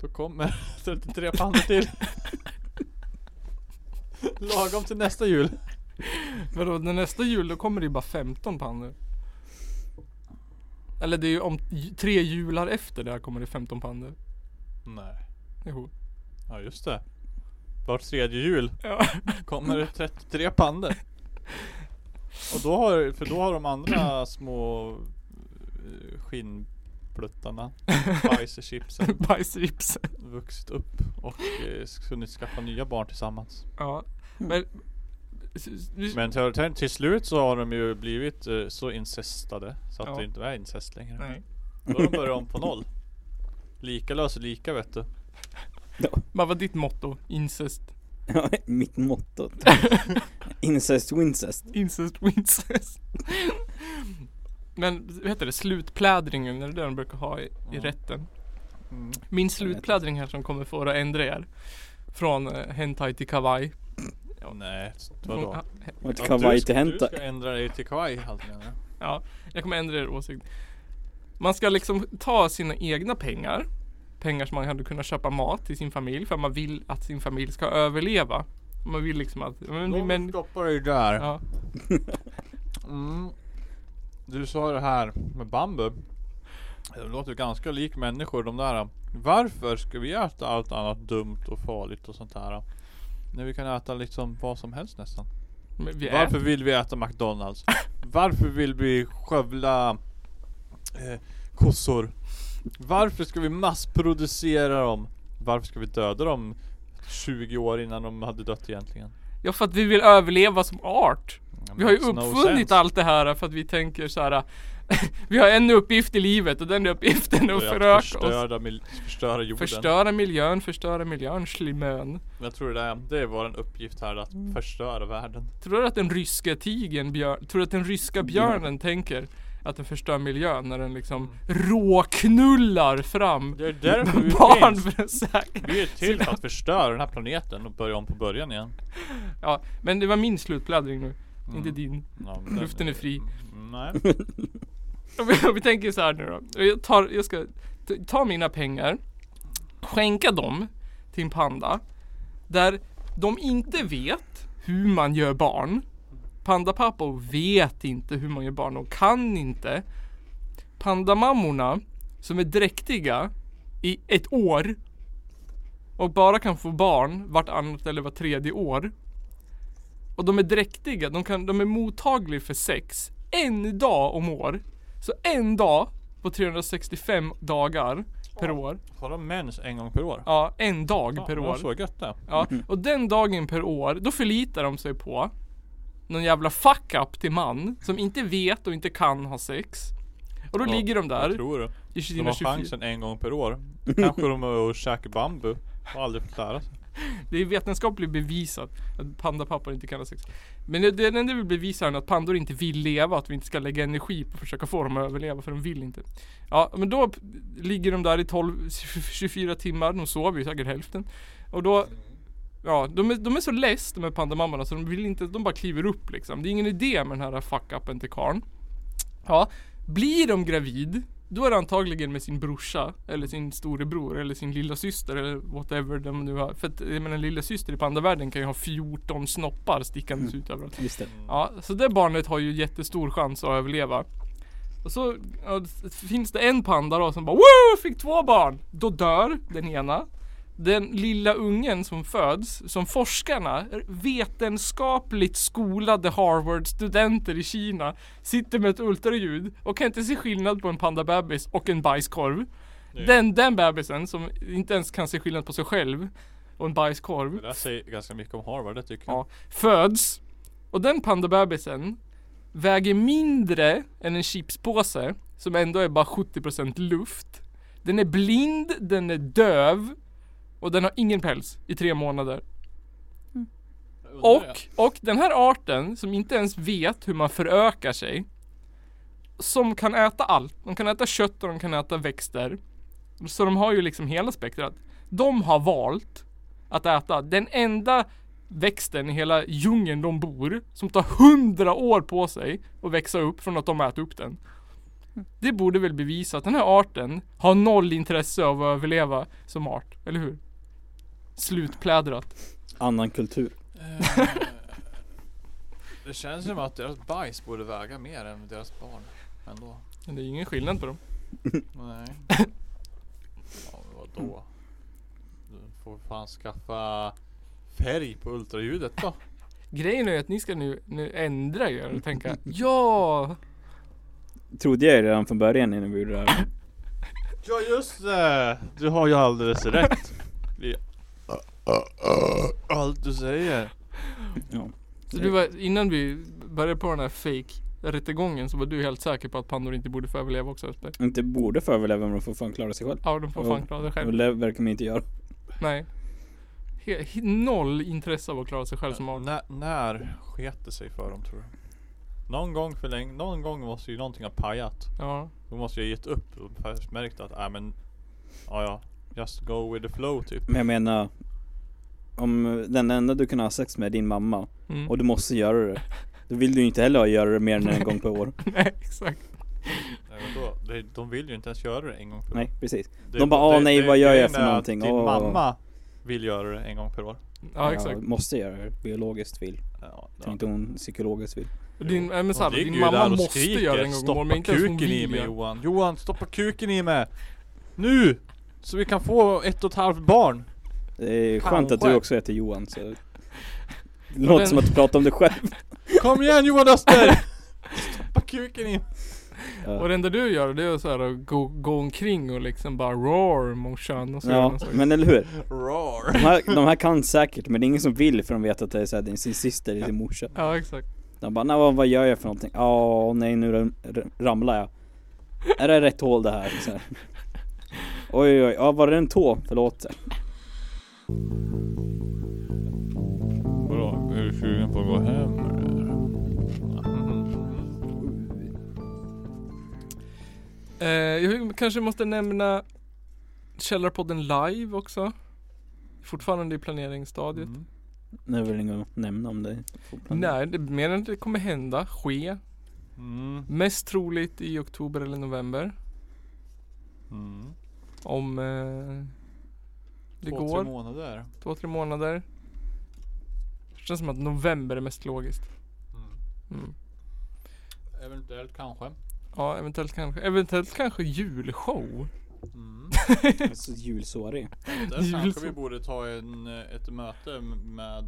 Speaker 1: Då kommer 33 pandor till Lagom till nästa jul
Speaker 2: vadå, den nästa jul då kommer det ju bara 15 pandor. Eller det är ju om j- tre jular efter det här kommer det 15 pandor.
Speaker 1: Nej.
Speaker 2: Jo.
Speaker 1: Ja just det. Vart tredje jul
Speaker 2: Ja.
Speaker 1: kommer det 33 pandor. Och då har, för då har de andra små eh, skinnpluttarna, bajserchipsen,
Speaker 2: Bajsrips.
Speaker 1: vuxit upp och eh, s- hunnit skaffa nya barn tillsammans.
Speaker 2: Ja. Men. s- s- nu-
Speaker 1: Men till, till- till slut så har de ju blivit eh, så incestade så att
Speaker 2: Ja.
Speaker 1: det inte är incest längre.
Speaker 2: Nej.
Speaker 1: Då har de börjat om på noll. Lika löser lika vet du.
Speaker 2: Vad var ditt motto? Incest.
Speaker 3: Ja, mitt motto. Incest wincest.
Speaker 2: Incest wincest. Men vad heter det? Slutplädringen, är det det de brukar ha i, i
Speaker 1: Ja.
Speaker 2: rätten?
Speaker 1: Mm.
Speaker 2: Min slutplädring här som kommer få er att ändra er. Från eh, Hentai till Kawaii.
Speaker 1: Nej,
Speaker 2: Från-
Speaker 1: vadå?
Speaker 2: ah,
Speaker 3: Vart
Speaker 1: Att
Speaker 3: kavaj
Speaker 1: du ska-
Speaker 3: till hänta.
Speaker 1: Du ska ändra dig till kawaii alltså menar jag.
Speaker 2: Ja, jag kommer ändra er åsikt. Man ska liksom ta sina egna pengar. Pengar som man hade kunnat köpa mat till sin familj för man vill att sin familj ska överleva. Man vill liksom att, men, men
Speaker 1: stoppar dig där.
Speaker 2: ja,
Speaker 1: Mm. Du sa det här med bambu. Det låter ganska lik människor de där. Varför ska vi äta allt annat dumt och farligt och sånt där? När vi kan äta liksom vad som helst nästan.
Speaker 2: men vi
Speaker 1: Varför
Speaker 2: äter.
Speaker 1: vill vi äta McDonalds? Varför vill vi skövla eh, kossor? Varför ska vi massproducera dem? Varför ska vi döda dem 20 år innan de hade dött egentligen?
Speaker 2: Ja, för att vi vill överleva som art.
Speaker 1: Ja,
Speaker 2: Vi har ju
Speaker 1: makes no
Speaker 2: uppfunnit
Speaker 1: sense.
Speaker 2: allt det här för att vi tänker så här. Vi har en uppgift i livet och den uppgiften är att
Speaker 1: Det är
Speaker 2: föröka oss.
Speaker 1: förstöra, mil- förstöra jorden.
Speaker 2: Förstöra miljön, förstöra miljön, slimön.
Speaker 1: Jag tror det är, det är vår uppgift här att
Speaker 2: Mm.
Speaker 1: förstöra världen.
Speaker 2: Tror du att den ryska tigern, björn, tror du att den ryska björnen tänker att den förstör miljön när den liksom råknullar fram
Speaker 1: Mm. Det är därför vi
Speaker 2: barn
Speaker 1: finns.
Speaker 2: för att säkra?
Speaker 1: Vi är till för att förstöra den här planeten och börja om på början igen.
Speaker 2: Ja, men det var min slutbläddring nu.
Speaker 1: Mm.
Speaker 2: Inte din.
Speaker 1: Ja, men den-
Speaker 2: Luften är fri.
Speaker 1: Nej.
Speaker 2: Om vi, om vi tänker så här nu då. Jag, tar, jag ska t- ta mina pengar, skänka dem till en panda. Där de inte vet hur man gör barn. Pandapappor vet inte hur man gör barn, de kan inte. Pandamammorna som är dräktiga i ett år och bara kan få barn vartannat eller vart tredje år. Och de är dräktiga, de, kan, de är mottagliga för sex en dag om år. Så en dag på 365 dagar per år.
Speaker 1: Har de mens en gång per år?
Speaker 2: Ja, en dag
Speaker 1: Fan,
Speaker 2: per
Speaker 1: det
Speaker 2: år.
Speaker 1: var Så gött det.
Speaker 2: Ja, och den dagen per år, då förlitar de sig på någon jävla fuck-up till man som inte vet och inte kan ha sex. Och då
Speaker 1: Ja,
Speaker 2: ligger de
Speaker 1: Vad
Speaker 2: där
Speaker 1: tror du?
Speaker 2: i
Speaker 1: De
Speaker 2: sina
Speaker 1: har
Speaker 2: 24.
Speaker 1: chansen en gång per år. Kanske de är och käkar bambu. Har aldrig fått lära sig.
Speaker 2: Det är vetenskapligt bevisat att pandapappor inte kan ha sex. Men det, det enda vi bevisar är att pandor inte vill leva, att vi inte ska lägga energi på att försöka få dem att överleva för de vill inte. Ja, men då p- ligger de där i 12, 24 timmar, de sover ju säkert hälften. Och då Ja, de är, de är så less de här pandamammorna så de vill inte, de bara kliver upp liksom. Det är ingen idé med den här fuck-upen till karln. Ja, blir de gravid, då är det antagligen med sin brorsa eller sin storebror eller sin lilla syster eller whatever de nu har. För att jag menar, en lilla syster i pandavärlden kan ju ha 14 snoppar stickandes ut överallt.
Speaker 3: Just det.
Speaker 2: Ja, så det barnet har ju jättestor chans att överleva. Och så ja, s- finns det en panda då som bara Woo! Fick två barn! Då dör den ena. Den lilla ungen som föds, som forskarna, vetenskapligt skolade Harvard-studenter i Kina, sitter med ett ultraljud och kan inte se skillnad på en pandabebis och en bajskorv. Den, den bebisen som inte ens kan se skillnad på sig själv och en bajskorv
Speaker 1: Det där säger ganska mycket om Harvard, det tycker jag.
Speaker 2: ja, föds och den pandabebisen väger mindre än en chipspåse som ändå är bara 70% luft. Den är blind, den är döv och den har ingen päls i tre månader.
Speaker 1: Undrar jag.
Speaker 2: Och, och den här arten som inte ens vet hur man förökar sig. Som kan äta allt. De kan äta kött och de kan äta växter. Så de har ju liksom hela spektrat. De har valt att äta den enda växten i hela djungeln de bor som tar hundra år på sig att växa upp från att de äter upp den. Det borde väl bevisa att den här arten har noll intresse av att överleva som art, eller hur? Slutplädrat.
Speaker 3: Annan kultur.
Speaker 1: Det känns som att deras bajs borde väga mer än deras barn. Ändå.
Speaker 2: Men det är ingen skillnad på dem.
Speaker 1: Nej. Ja, men vadå? Du får fan skaffa färg på ultraljudet då.
Speaker 2: Grejen är att ni ska nu, nu ändra er och tänka ja!
Speaker 3: Trodde jag ju redan från början innan vi gjorde det här.
Speaker 1: Ja just det! Du har ju alldeles rätt. Ja. Allt du säger.
Speaker 3: Ja.
Speaker 2: Så du var, innan vi började på den här fake rättegången så var du helt säker på att pandor inte borde få överleva också Östberg.
Speaker 3: Inte borde få överleva men de får fan klara sig själv.
Speaker 2: Ja, de får fan klara sig
Speaker 3: Och
Speaker 2: själv.
Speaker 3: det verkar man inte göra.
Speaker 2: Nej. He, he, noll intresse av att klara sig själv som art.
Speaker 1: När, när sket det sig för dem tror du? Någon gång för länge, någon gång måste ju någonting ha pajat.
Speaker 2: Ja.
Speaker 1: Då måste jag ha gett upp och först märkt att, nej men, ja ja. Just go with the flow typ.
Speaker 3: Men jag menar Om den enda du kan ha sex med är din mamma
Speaker 2: Mm.
Speaker 3: och du måste göra det Då vill du ju inte heller göra det mer än en gång per år
Speaker 2: Nej, exakt.
Speaker 1: Nej, men då, de, de vill ju inte ens göra det en gång per år.
Speaker 3: Nej precis
Speaker 1: Det-
Speaker 3: De bara, "Åh, nej, vad gör jag
Speaker 1: grejen
Speaker 3: för
Speaker 1: är att
Speaker 3: någonting?"
Speaker 1: Din
Speaker 3: Åh.
Speaker 1: mamma vill göra det en gång per år.
Speaker 2: Ja, exakt.
Speaker 3: Jag måste göra det biologiskt vill
Speaker 1: Ja,
Speaker 3: Tror inte hon psykologiskt vill
Speaker 2: Din, äh,
Speaker 1: Hon
Speaker 2: men så här,
Speaker 1: ligger
Speaker 2: din
Speaker 1: ju
Speaker 2: mamma
Speaker 1: där och
Speaker 2: måste
Speaker 1: skriker,
Speaker 2: göra det en gång om
Speaker 1: "Stoppa
Speaker 2: året, men inte ens hon
Speaker 1: kuken i
Speaker 2: vill
Speaker 1: mig
Speaker 2: göra det.
Speaker 1: Johan. Johan, stoppa kuken i mig! Nu! Så vi kan få ett och ett halvt barn.
Speaker 3: Det är
Speaker 1: Fan,
Speaker 3: skönt att du
Speaker 1: skönt.
Speaker 3: också heter Johan så Det låter som att du pratar om dig själv
Speaker 1: Kom igen Johan Öster! stoppa kuken i mig!
Speaker 2: Och
Speaker 3: ja.
Speaker 2: det enda du gör det är så här att gå, gå omkring och liksom bara roar morsan och så gör
Speaker 3: ja
Speaker 2: någon sak.
Speaker 3: men eller hur?
Speaker 1: Roar!
Speaker 3: De här, de här kan säkert men det är ingen som vill för de vet att det är så här, det är sin syster eller sin morsa
Speaker 2: Ja exakt.
Speaker 3: De bara, "Nej, vad, vad gör jag för någonting? Ja, nej nu ram- r- ramlar jag. Är det rätt hål det här? Så här. Oj, oj, oj, ja, var det en tå? Förlåt.
Speaker 1: Vadå, är du sugen på att gå hem
Speaker 2: Eh, jag kanske måste nämna Källarpodden live också. Fortfarande i planeringsstadiet.
Speaker 3: Nu vill ingen nämna om det.
Speaker 1: Mm.
Speaker 2: Nej, det, mer än det kommer hända, ske.
Speaker 1: Mm.
Speaker 2: Mest troligt i oktober eller november. Om eh,
Speaker 1: Mm.
Speaker 2: det
Speaker 1: Två,
Speaker 2: går.
Speaker 1: tre månader.
Speaker 2: Två, tre månader. Det känns som att november är mest logiskt. Mm.
Speaker 1: Eventuellt kanske. Mm.
Speaker 2: Ja, eventuellt kanske, eventuellt kanske julshow.
Speaker 1: Mm.
Speaker 3: Så julsårig.
Speaker 1: Där kanske vi
Speaker 2: Julsång.
Speaker 1: borde ta en, eh, ett möte med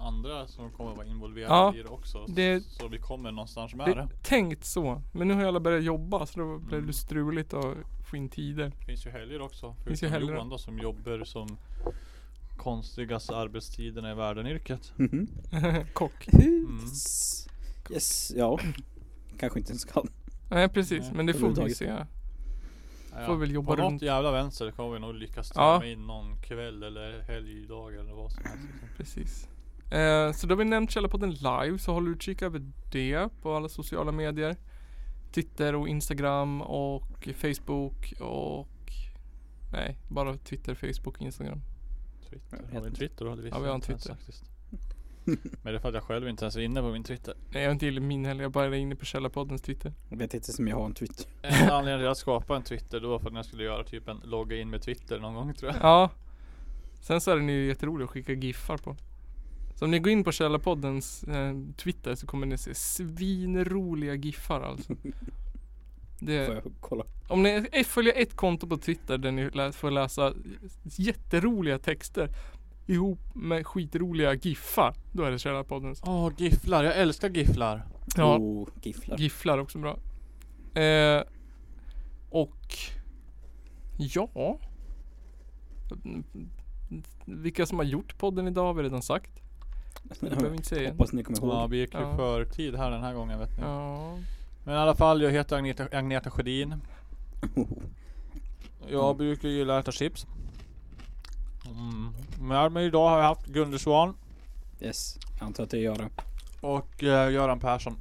Speaker 1: andra som kommer vara involverade
Speaker 2: Ja,
Speaker 1: i det också.
Speaker 2: det-
Speaker 1: Så vi kommer någonstans med det.
Speaker 2: Det, tänkt så. Men nu har alla börjat jobba så då blev
Speaker 1: Mm.
Speaker 2: det struligt att få in tider.
Speaker 1: Det finns ju helger också.
Speaker 2: Finns ju
Speaker 1: förutom
Speaker 2: helger.
Speaker 1: Johan då som jobbar som konstigaste arbetstiderna i världen-yrket.
Speaker 3: Mhm.
Speaker 2: Kock.
Speaker 1: Mm.
Speaker 3: Yes, ja. Kanske inte ens kan.
Speaker 2: Nej precis,
Speaker 1: Nej,
Speaker 2: men det får vi ju
Speaker 3: överhuvudtaget.
Speaker 2: se.
Speaker 1: Ja,
Speaker 2: Får väl jobba
Speaker 1: På något
Speaker 2: runt.
Speaker 1: jävla vänster kommer vi nog lyckas
Speaker 2: Ja.
Speaker 1: stämma in någon kväll eller helgdag eller vad som helst. liksom.
Speaker 2: Precis. Eh, så då har vi nämnt Källarpodden live, så håll utkik över det på alla sociala medier. Twitter och Instagram och Facebook och... Nej, bara Twitter, Facebook och Instagram.
Speaker 1: Twitter.
Speaker 3: Jag vet
Speaker 1: Har vi en
Speaker 3: inte.
Speaker 1: Twitter då? Det visste
Speaker 2: Ja, vi
Speaker 1: jag
Speaker 2: har en
Speaker 1: inte ens
Speaker 2: Twitter.
Speaker 1: faktiskt. Men det är för att jag själv inte ens är inne på min Twitter.
Speaker 2: Nej, jag är inte inne i min heller. Jag bara är inne på Källarpoddens Twitter.
Speaker 3: Jag vet inte som jag har en tweet.
Speaker 1: En anledning till att jag skapade en Twitter då var för att jag skulle göra typ en logga in med Twitter någon gång tror jag.
Speaker 2: Ja. Sen så är den ju jätterolig att skicka giffar på. Så om ni går in på Källarpoddens eh, Twitter så kommer ni se svinroliga giffar alltså.
Speaker 3: Får
Speaker 2: Det,
Speaker 3: jag kolla?
Speaker 2: om ni eh, följer ett konto på Twitter där ni lä- får läsa jätteroliga texter ihop med skitroliga giffar. Då är det Källarpoddens.
Speaker 1: Åh, gifflar. Jag älskar gifflar.
Speaker 2: Ja,
Speaker 3: Oh, gifflar.
Speaker 2: gifflar också bra. Eh, och ja. Vilka som har gjort podden idag har vi redan sagt. Det behöver vi inte säga.
Speaker 3: Hoppas ni kommer
Speaker 1: Ja,
Speaker 3: ihåg.
Speaker 1: vi gick ju
Speaker 2: Ja.
Speaker 1: för tid här den här gången vet ni.
Speaker 2: Ja.
Speaker 1: Men i alla fall, jag heter Agneta, Agneta Sjödin. Jag brukar gilla att äta chips. Mm. Med mig idag har jag haft Gunde Svan
Speaker 3: Yes, jag antar att det är Göran.
Speaker 1: och eh, Göran Persson.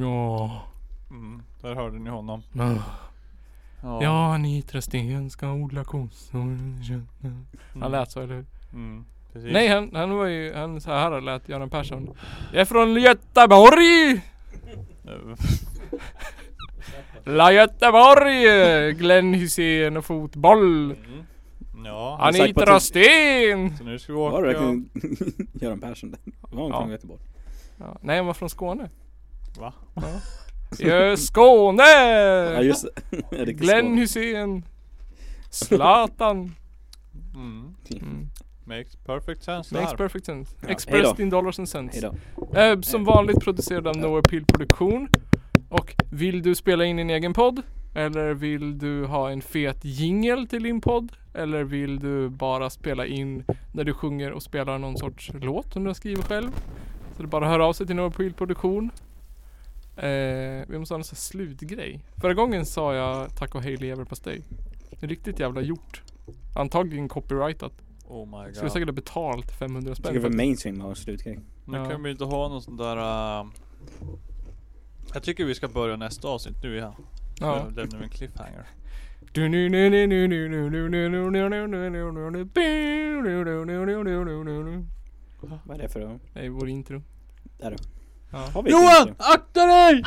Speaker 2: Ja.
Speaker 1: Mm. Där hörde ni honom. Ja.
Speaker 2: Ja, Anitra Sten ska odla kossor. Han lät så, eller hur?
Speaker 1: Mm. Precis.
Speaker 2: Nej, han, han var ju, han så här lät Göran Persson. Jag är från Göteborg!
Speaker 1: Eh,
Speaker 2: La Göteborg! Glenn Hysén och fotboll.
Speaker 1: Mm. Ja.
Speaker 3: Han sagt på
Speaker 2: Anitra
Speaker 3: att-
Speaker 2: Sten!
Speaker 1: Så nu ska vi
Speaker 3: Var det
Speaker 1: åka...
Speaker 3: verkligen Göran Persson där? Var han
Speaker 2: Ja.
Speaker 3: från Göteborg?
Speaker 2: Ja, nej, han var från Skåne.
Speaker 1: Va?
Speaker 2: Ja. Ja, Skåne!
Speaker 3: Ja just det. Riktigt
Speaker 2: Glenn
Speaker 3: svårt.
Speaker 2: Hussein Zlatan
Speaker 1: Mm.
Speaker 2: mm.
Speaker 1: Makes perfect sense
Speaker 2: Makes
Speaker 1: Makes per-
Speaker 2: perfect sense
Speaker 3: Ja,
Speaker 2: Expressed
Speaker 3: hejdå.
Speaker 2: in dollars and cents
Speaker 3: Hejdå.
Speaker 2: eh, Som vanligt producerad av No Appeal Produktion Och vill du spela in din egen podd? Eller vill du ha en fet jingle till din podd? Eller vill du bara spela in när du sjunger och spelar någon sorts låt som du har skrivit själv? Så det är bara att höra av sig till No Appeal Produktion eh, Vi måste ha en sån här slutgrej Förra gången sa jag tack och hej leverpastej Riktigt jävla gjort Antagligen copyrightat
Speaker 1: Oh my
Speaker 2: Skulle
Speaker 1: god.
Speaker 2: säkert ha betalt 500
Speaker 3: Jag tycker
Speaker 2: spänn
Speaker 3: det
Speaker 2: för
Speaker 3: var mainstream av en slutgrej.
Speaker 1: Nu
Speaker 2: Ja.
Speaker 1: kan vi inte ha någon sån där... ehm, jag tycker vi ska börja nästa avsnitt nu igen. Ja.
Speaker 2: ja.
Speaker 1: Nu lämnar vi en cliffhanger.
Speaker 3: Vad är det för då?
Speaker 2: Det är vår intro
Speaker 3: Där då.
Speaker 2: Ja.
Speaker 3: Har vi ett
Speaker 1: Johan!
Speaker 3: intro?
Speaker 1: Akta dig!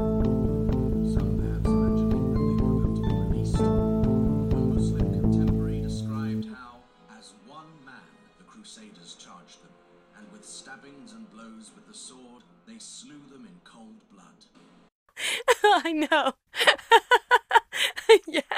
Speaker 5: Some maps mentioned that they were about to be released. One Muslim contemporary described how, as one man, the Crusaders charged them, and with stabbings and blows with the sword, they slew them in cold blood.
Speaker 6: I know. yeah.